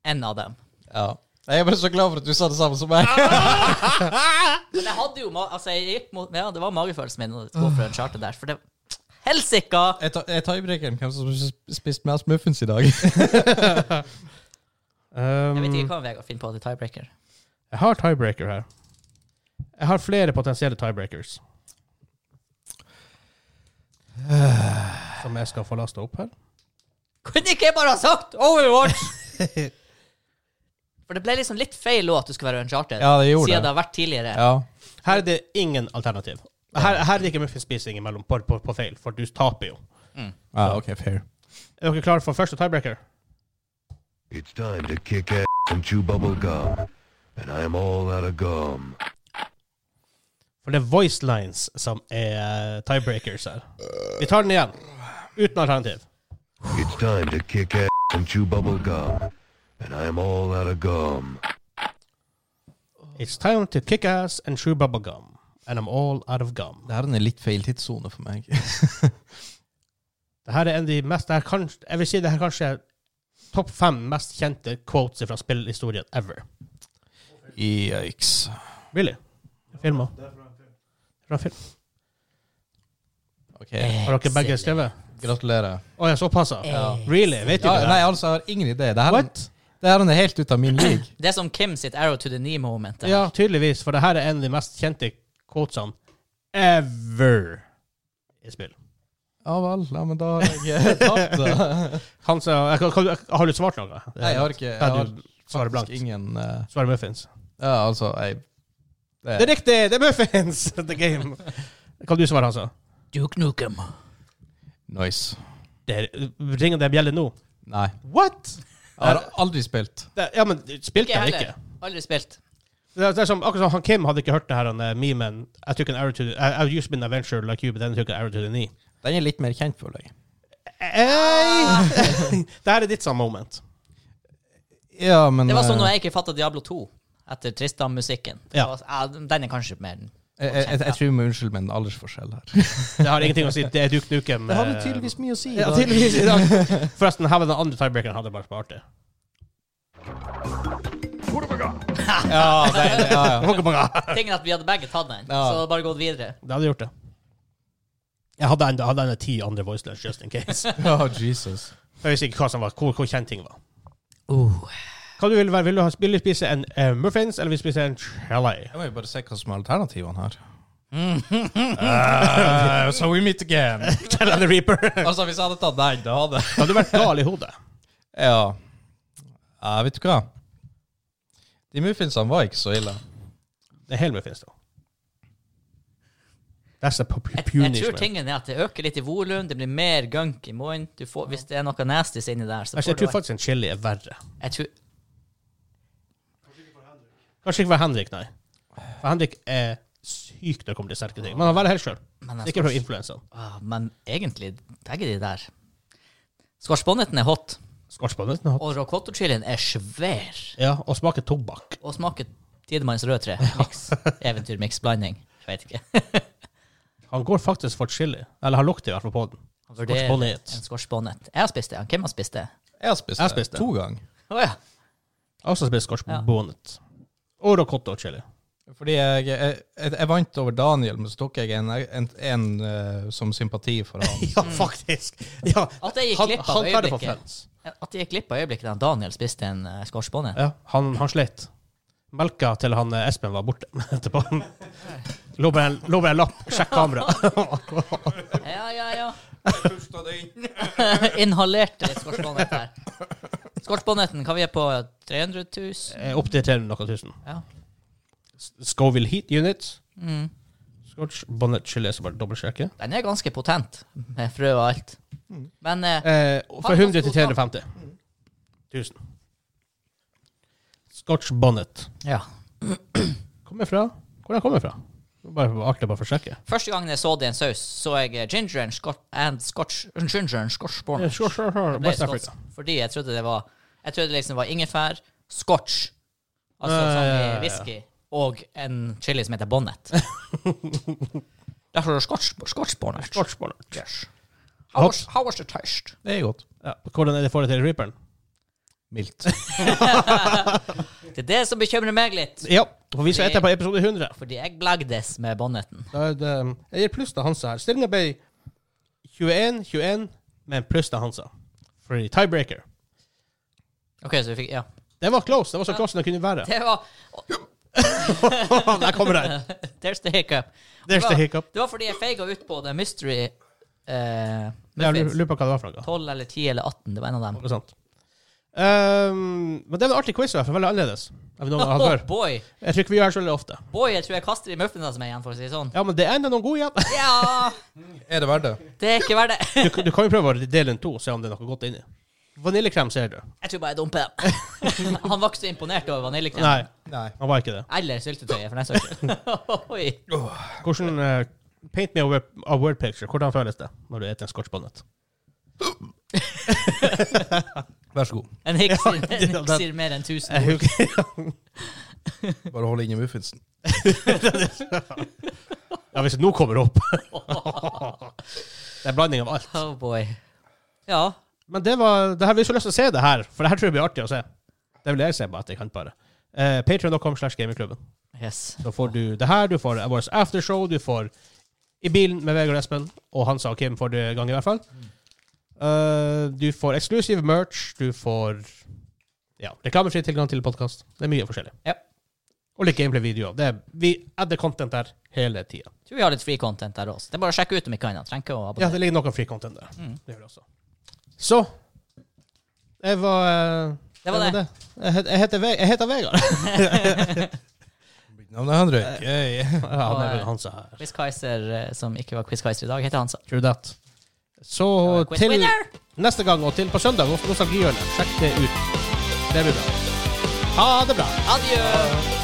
en av dem.
Ja. Jeg er bare så glad for at du sa det samme som meg.
Men jeg hadde jo ma Altså, jeg gikk mot Ja, det var magefølelsen min å gå for en charter der, for det Helsika!
Jeg tar, jeg tar i breakeren hvem som sp- spiste mest muffins i dag.
Jeg vet
Um,
ikke hva Vegard finner på til tiebreaker.
jeg har tiebreaker her. Jeg har flere potensielle tiebreakers. Som jeg skal få lasta opp her.
Kunne ikke jeg bare ha sagt Overwatch? For det ble liksom litt feil låt at du skulle være uncharted,
Ja, det gjorde
siden
det.
det har vært tidligere.
Ja.
Her er det ingen alternativ. Her, her er det ikke muffinspising imellom på, på, på feil, for du taper jo.
ja, ok, fair.
Er dere klare for første tiebreaker?
It's time to kick ass and chew bubble gum. And I'm all out of gum.
For det er voice lines som er eh, tiebreakers her. Vi tar den igjen. Uten alternativ.
It's time to kick ass and chew bubble gum. And I'm all out of gum.
It's time to kick ass and chew bubble gum. And I'm all out of gum.
Dette er litt feil tidssone for meg.
Det her er en av de mest det her kan, Jeg vil si det her kanskje er topp fem mest kjente quotes fra spillhistorien ever.
Yikes.
Really? Filmer. Fra en film.
Ok,
Har dere begge skrevet?
gratulerer.
Å ja, såpass? Ja. Really? Vet du
Ja,
det?
nei,
der?
altså, jeg har ingen idé. Det her,
What?
Det her er helt ut av min league.
Det er som Kim sitt arrow to the knee-moment.
Ja, tydeligvis, for det her er en av de mest kjente quotesene ever i spill.
Ja vel, ja, men da har jeg tapt. da.
Han sa jeg, kan- kan- Har du svart noe?
Nei, jeg har ikke jeg
Kan
har
du svare blankt?
faktisk ingen eh,
Svarer muffins.
Ja, altså, jeg
Det er riktig! Det er muffins! The game. Kan du svare, altså?
Duke Nukem.
Nice.
Det er, ringer det bjelle nå?
Nei.
What?!
Jeg har aldri spilt.
Det, ja, men spilte
Ikke
jeg
heller.
ikke?
Aldri spilt.
Det er, det er som, akkurat som han Kim hadde ikke hørt det her han, eh, memen I took an arrow to the, I, I've just been an adventure like you, but then I took an arrow to the knee.
Den er litt mer kjent, føler jeg.
Ah!
Hey! det her er ditt samme moment.
Ja, men
Det var
eh,
sånn når jeg ikke fatta Diablo 2 etter Tristan-musikken. Det
Ja.
var- Ja, den er kanskje mer
jeg, jeg, jeg, jeg tror vi må unnskylde med en aldersforskjell her.
Det har ingenting å si. Det er Duke Nukem. eh,
mye å si.
ja, tydeligvis i dag. Forresten, her var den andre tiebreakeren hadde bare vært artig.
Ja, det, det- ja, ja.
Tingen at vi hadde begge tatt den,
Ja.
så bare gått videre.
Det hadde gjort det. Jeg hadde enda, hadde enda ti andre voicelines, just in case.
Ja, Jesus.
For Jeg visste ikke hva som var, hvor, hvor kjent ting var.
Uh.
Hva du vil være? Vil du, ha, vil du spise en eh, muffins, eller vil du spise en chalet?
Jeg må jo bare se hva som er alternativene her.
Eh, so we meet again.
Chalet the Reaper.
Altså, hvis jeg hadde tatt den, da hadde
Da hadde du vært gal i hodet.
Ja. ja. Vet du hva? De muffinsene var ikke så ille.
Det er hel muffins, da. That's the pu- pu-
Jeg, jeg tror
punishment.
tingen er at det øker litt i volum, det blir mer gunk i munnen. Du får- Hvis det er noe nasties inni der,
Altså,
så får
jeg tror
du
faktisk en chili er verre.
jeg tror,
Kanskje ikke for Henrik, nei. For Henrik er syk når det kommer til sterke ting. Men han velger helt sjøl.
Men jeg
Ikke fra influensaen.
Ah, Men egentlig, begge de der Squashbonneten er hot,
Skortsbåndet den har-
og rocottochilien er svær.
Ja, og smaker tobakk.
Og smaker Tidemanns rødtre. Mix. Eventyrmix blanding. Jeg vet ikke.
Han går faktisk for chili. Eller har lukter i hvert fall på den.
Vurderer
Squashbonnet.
Altså, En squashbonnet. Jeg har spist det. Hvem har spist det?
Jeg har spist,
Jeg har spist det.
to ganger.
Å ja.
Jeg har også spist skortsbåndet. Og ricotta og chili.
Fordi jeg, jeg, jeg, jeg vant over Daniel, men så tok jeg en, en, en eh, som sympati for han.
Ja, faktisk! Ja,
At jeg Mm. gikk
han,
glipp
han
av
tar det for
øyeblikket.
fans.
At jeg gikk glipp av øyeblikket da Daniel spiste en uh, squashbonnet.
Ja, han, han slet. Melka til han eh, Espen var borte etterpå. Lå bare en- lå bare en lapp. Sjekk kameraet.
Ja, ja, ja. Inhalerte squashbonnet her. Squashbonneten, hva vi er på 300 000?
Eh, Opp til 300 noe tusen.
Ja.
Scoville Heat Unit.
Mm.
Scotch Bonnet Chili, så bare dobbeltsjekke.
Den er ganske potent, med frø og alt. Men eh,
Eh, fra
Faen,
100 til
ganske god
350. 1000. Scotch Bonnet.
ja.
Kommer fra? Hvor den kommer fra? Det var Bare artig bare for å sjekke.
Første gangen jeg så det i en saus, så jeg eh, ginger and, scot and scotch Ginger and scotch
Eh,
bonnet.
Sure, sure, sure.
Det ble
West Africa.
skotsk, Fordi jeg trodde det var Jeg trodde liksom det var ingefær, scotch, altså
Ja,
sånn
ja, ja,
i
ja.
whisky, og en chili som heter bonnet. Derfor er det scotch, scotch bonnet.
Scotch Bonnet.
Yes. How was, how was the taste?
Det er godt.
Ja. Hvordan er det i forhold til Reaperen?
Mildt.
Det er det som bekymrer meg litt.
Ja, for vi skal etter på episode 100.
Fordi jeg blagdes med bonneten.
Da er det, um, jeg gir pluss til Hansa her. Stillinga ble 21-21, men pluss til Hansa. For i tiebreaker.
Ok, så vi fikk Ja.
Det var close. Det var så close som det kunne være.
Det var
Der kommer den.
There's the hiccup.
There's the
Det var-
hiccup.
Det var fordi jeg feiga ut på det mystery eh,
Jeg lurer-
muffins.
lurer på hva det var for noe.
12 eller 10 eller 18, det var en av dem.
Ikke sant? Ehm, men det var en artig quiz, i hvert fall. Veldig annerledes. enn vi noen gang har hatt
Oh,
før.
boy.
Jeg tror ikke vi gjør det så veldig ofte.
Boy, jeg tror jeg kaster de muffinsene som er igjen, for å si det sånn.
Ja, men det er enda noen gode igjen.
Ja,
Er det verdt det?
det er ikke verdt det.
Du, du kan jo prøve å dele en to, se om det er noe godt inni. Vaniljekrem ser du.
Jeg tror bare jeg dumper dem. Han var ikke så imponert over vaniljekrem.
Nei,
Nei.
han var ikke det.
Eller syltetøyet, for den saks skyld. Oi.
Hvordan eh, Paint me a word, a word picture. Hvordan føles det når du spiser en scotch bonnet?
Vær så god.
En hikk sier, en hikk
den-
sier mer enn 1000 ord.
Jeg husker-
Bare hold inni muffinsen.
Ja, hvis det nå kommer opp. det er blanding av alt.
Oh boy. Ja.
Men det var det her, vi har så lyst til å se det her, for det her tror jeg blir artig å se. Det vil jeg se bare at jeg kan bare. Eh, Patreon.com slash gamingklubben.
Yes.
Da får du det her, du får vårt aftershow, du får I bilen med Vegard og Espen, og Hansa og Kim for det gang i hvert fall. Eh, du får eksklusiv merch, du får Ja. Reklamefri tilgang til podkast. Det er mye forskjellig.
Ja.
Og litt gameplay-videoer. Det er- Vi adder content der hele tida.
Tror vi har litt free content der også. Det er bare å sjekke ut om ikke annet. Trenger ikke å
Ja,
abonnere.
det ligger noe free content der.
Mm.
Det gjør det også. Så Jeg var eh,
Det var det.
Jeg, het- jeg, heter, Ve- jeg heter Vegard.
Navnet er Henrik. Hey.
ja, det er
Og, eh,
vel Hansa her.
Quiz-Kaiser, eh, som ikke var Quiz-Kaiser i dag, heter Hansa.
True that. Så
Og
til
Quiz-winner!
neste gang, og til på søndag, Nostalgihjørnet. Sjekk det ut. Det blir bra. Ha det bra.
Adjø!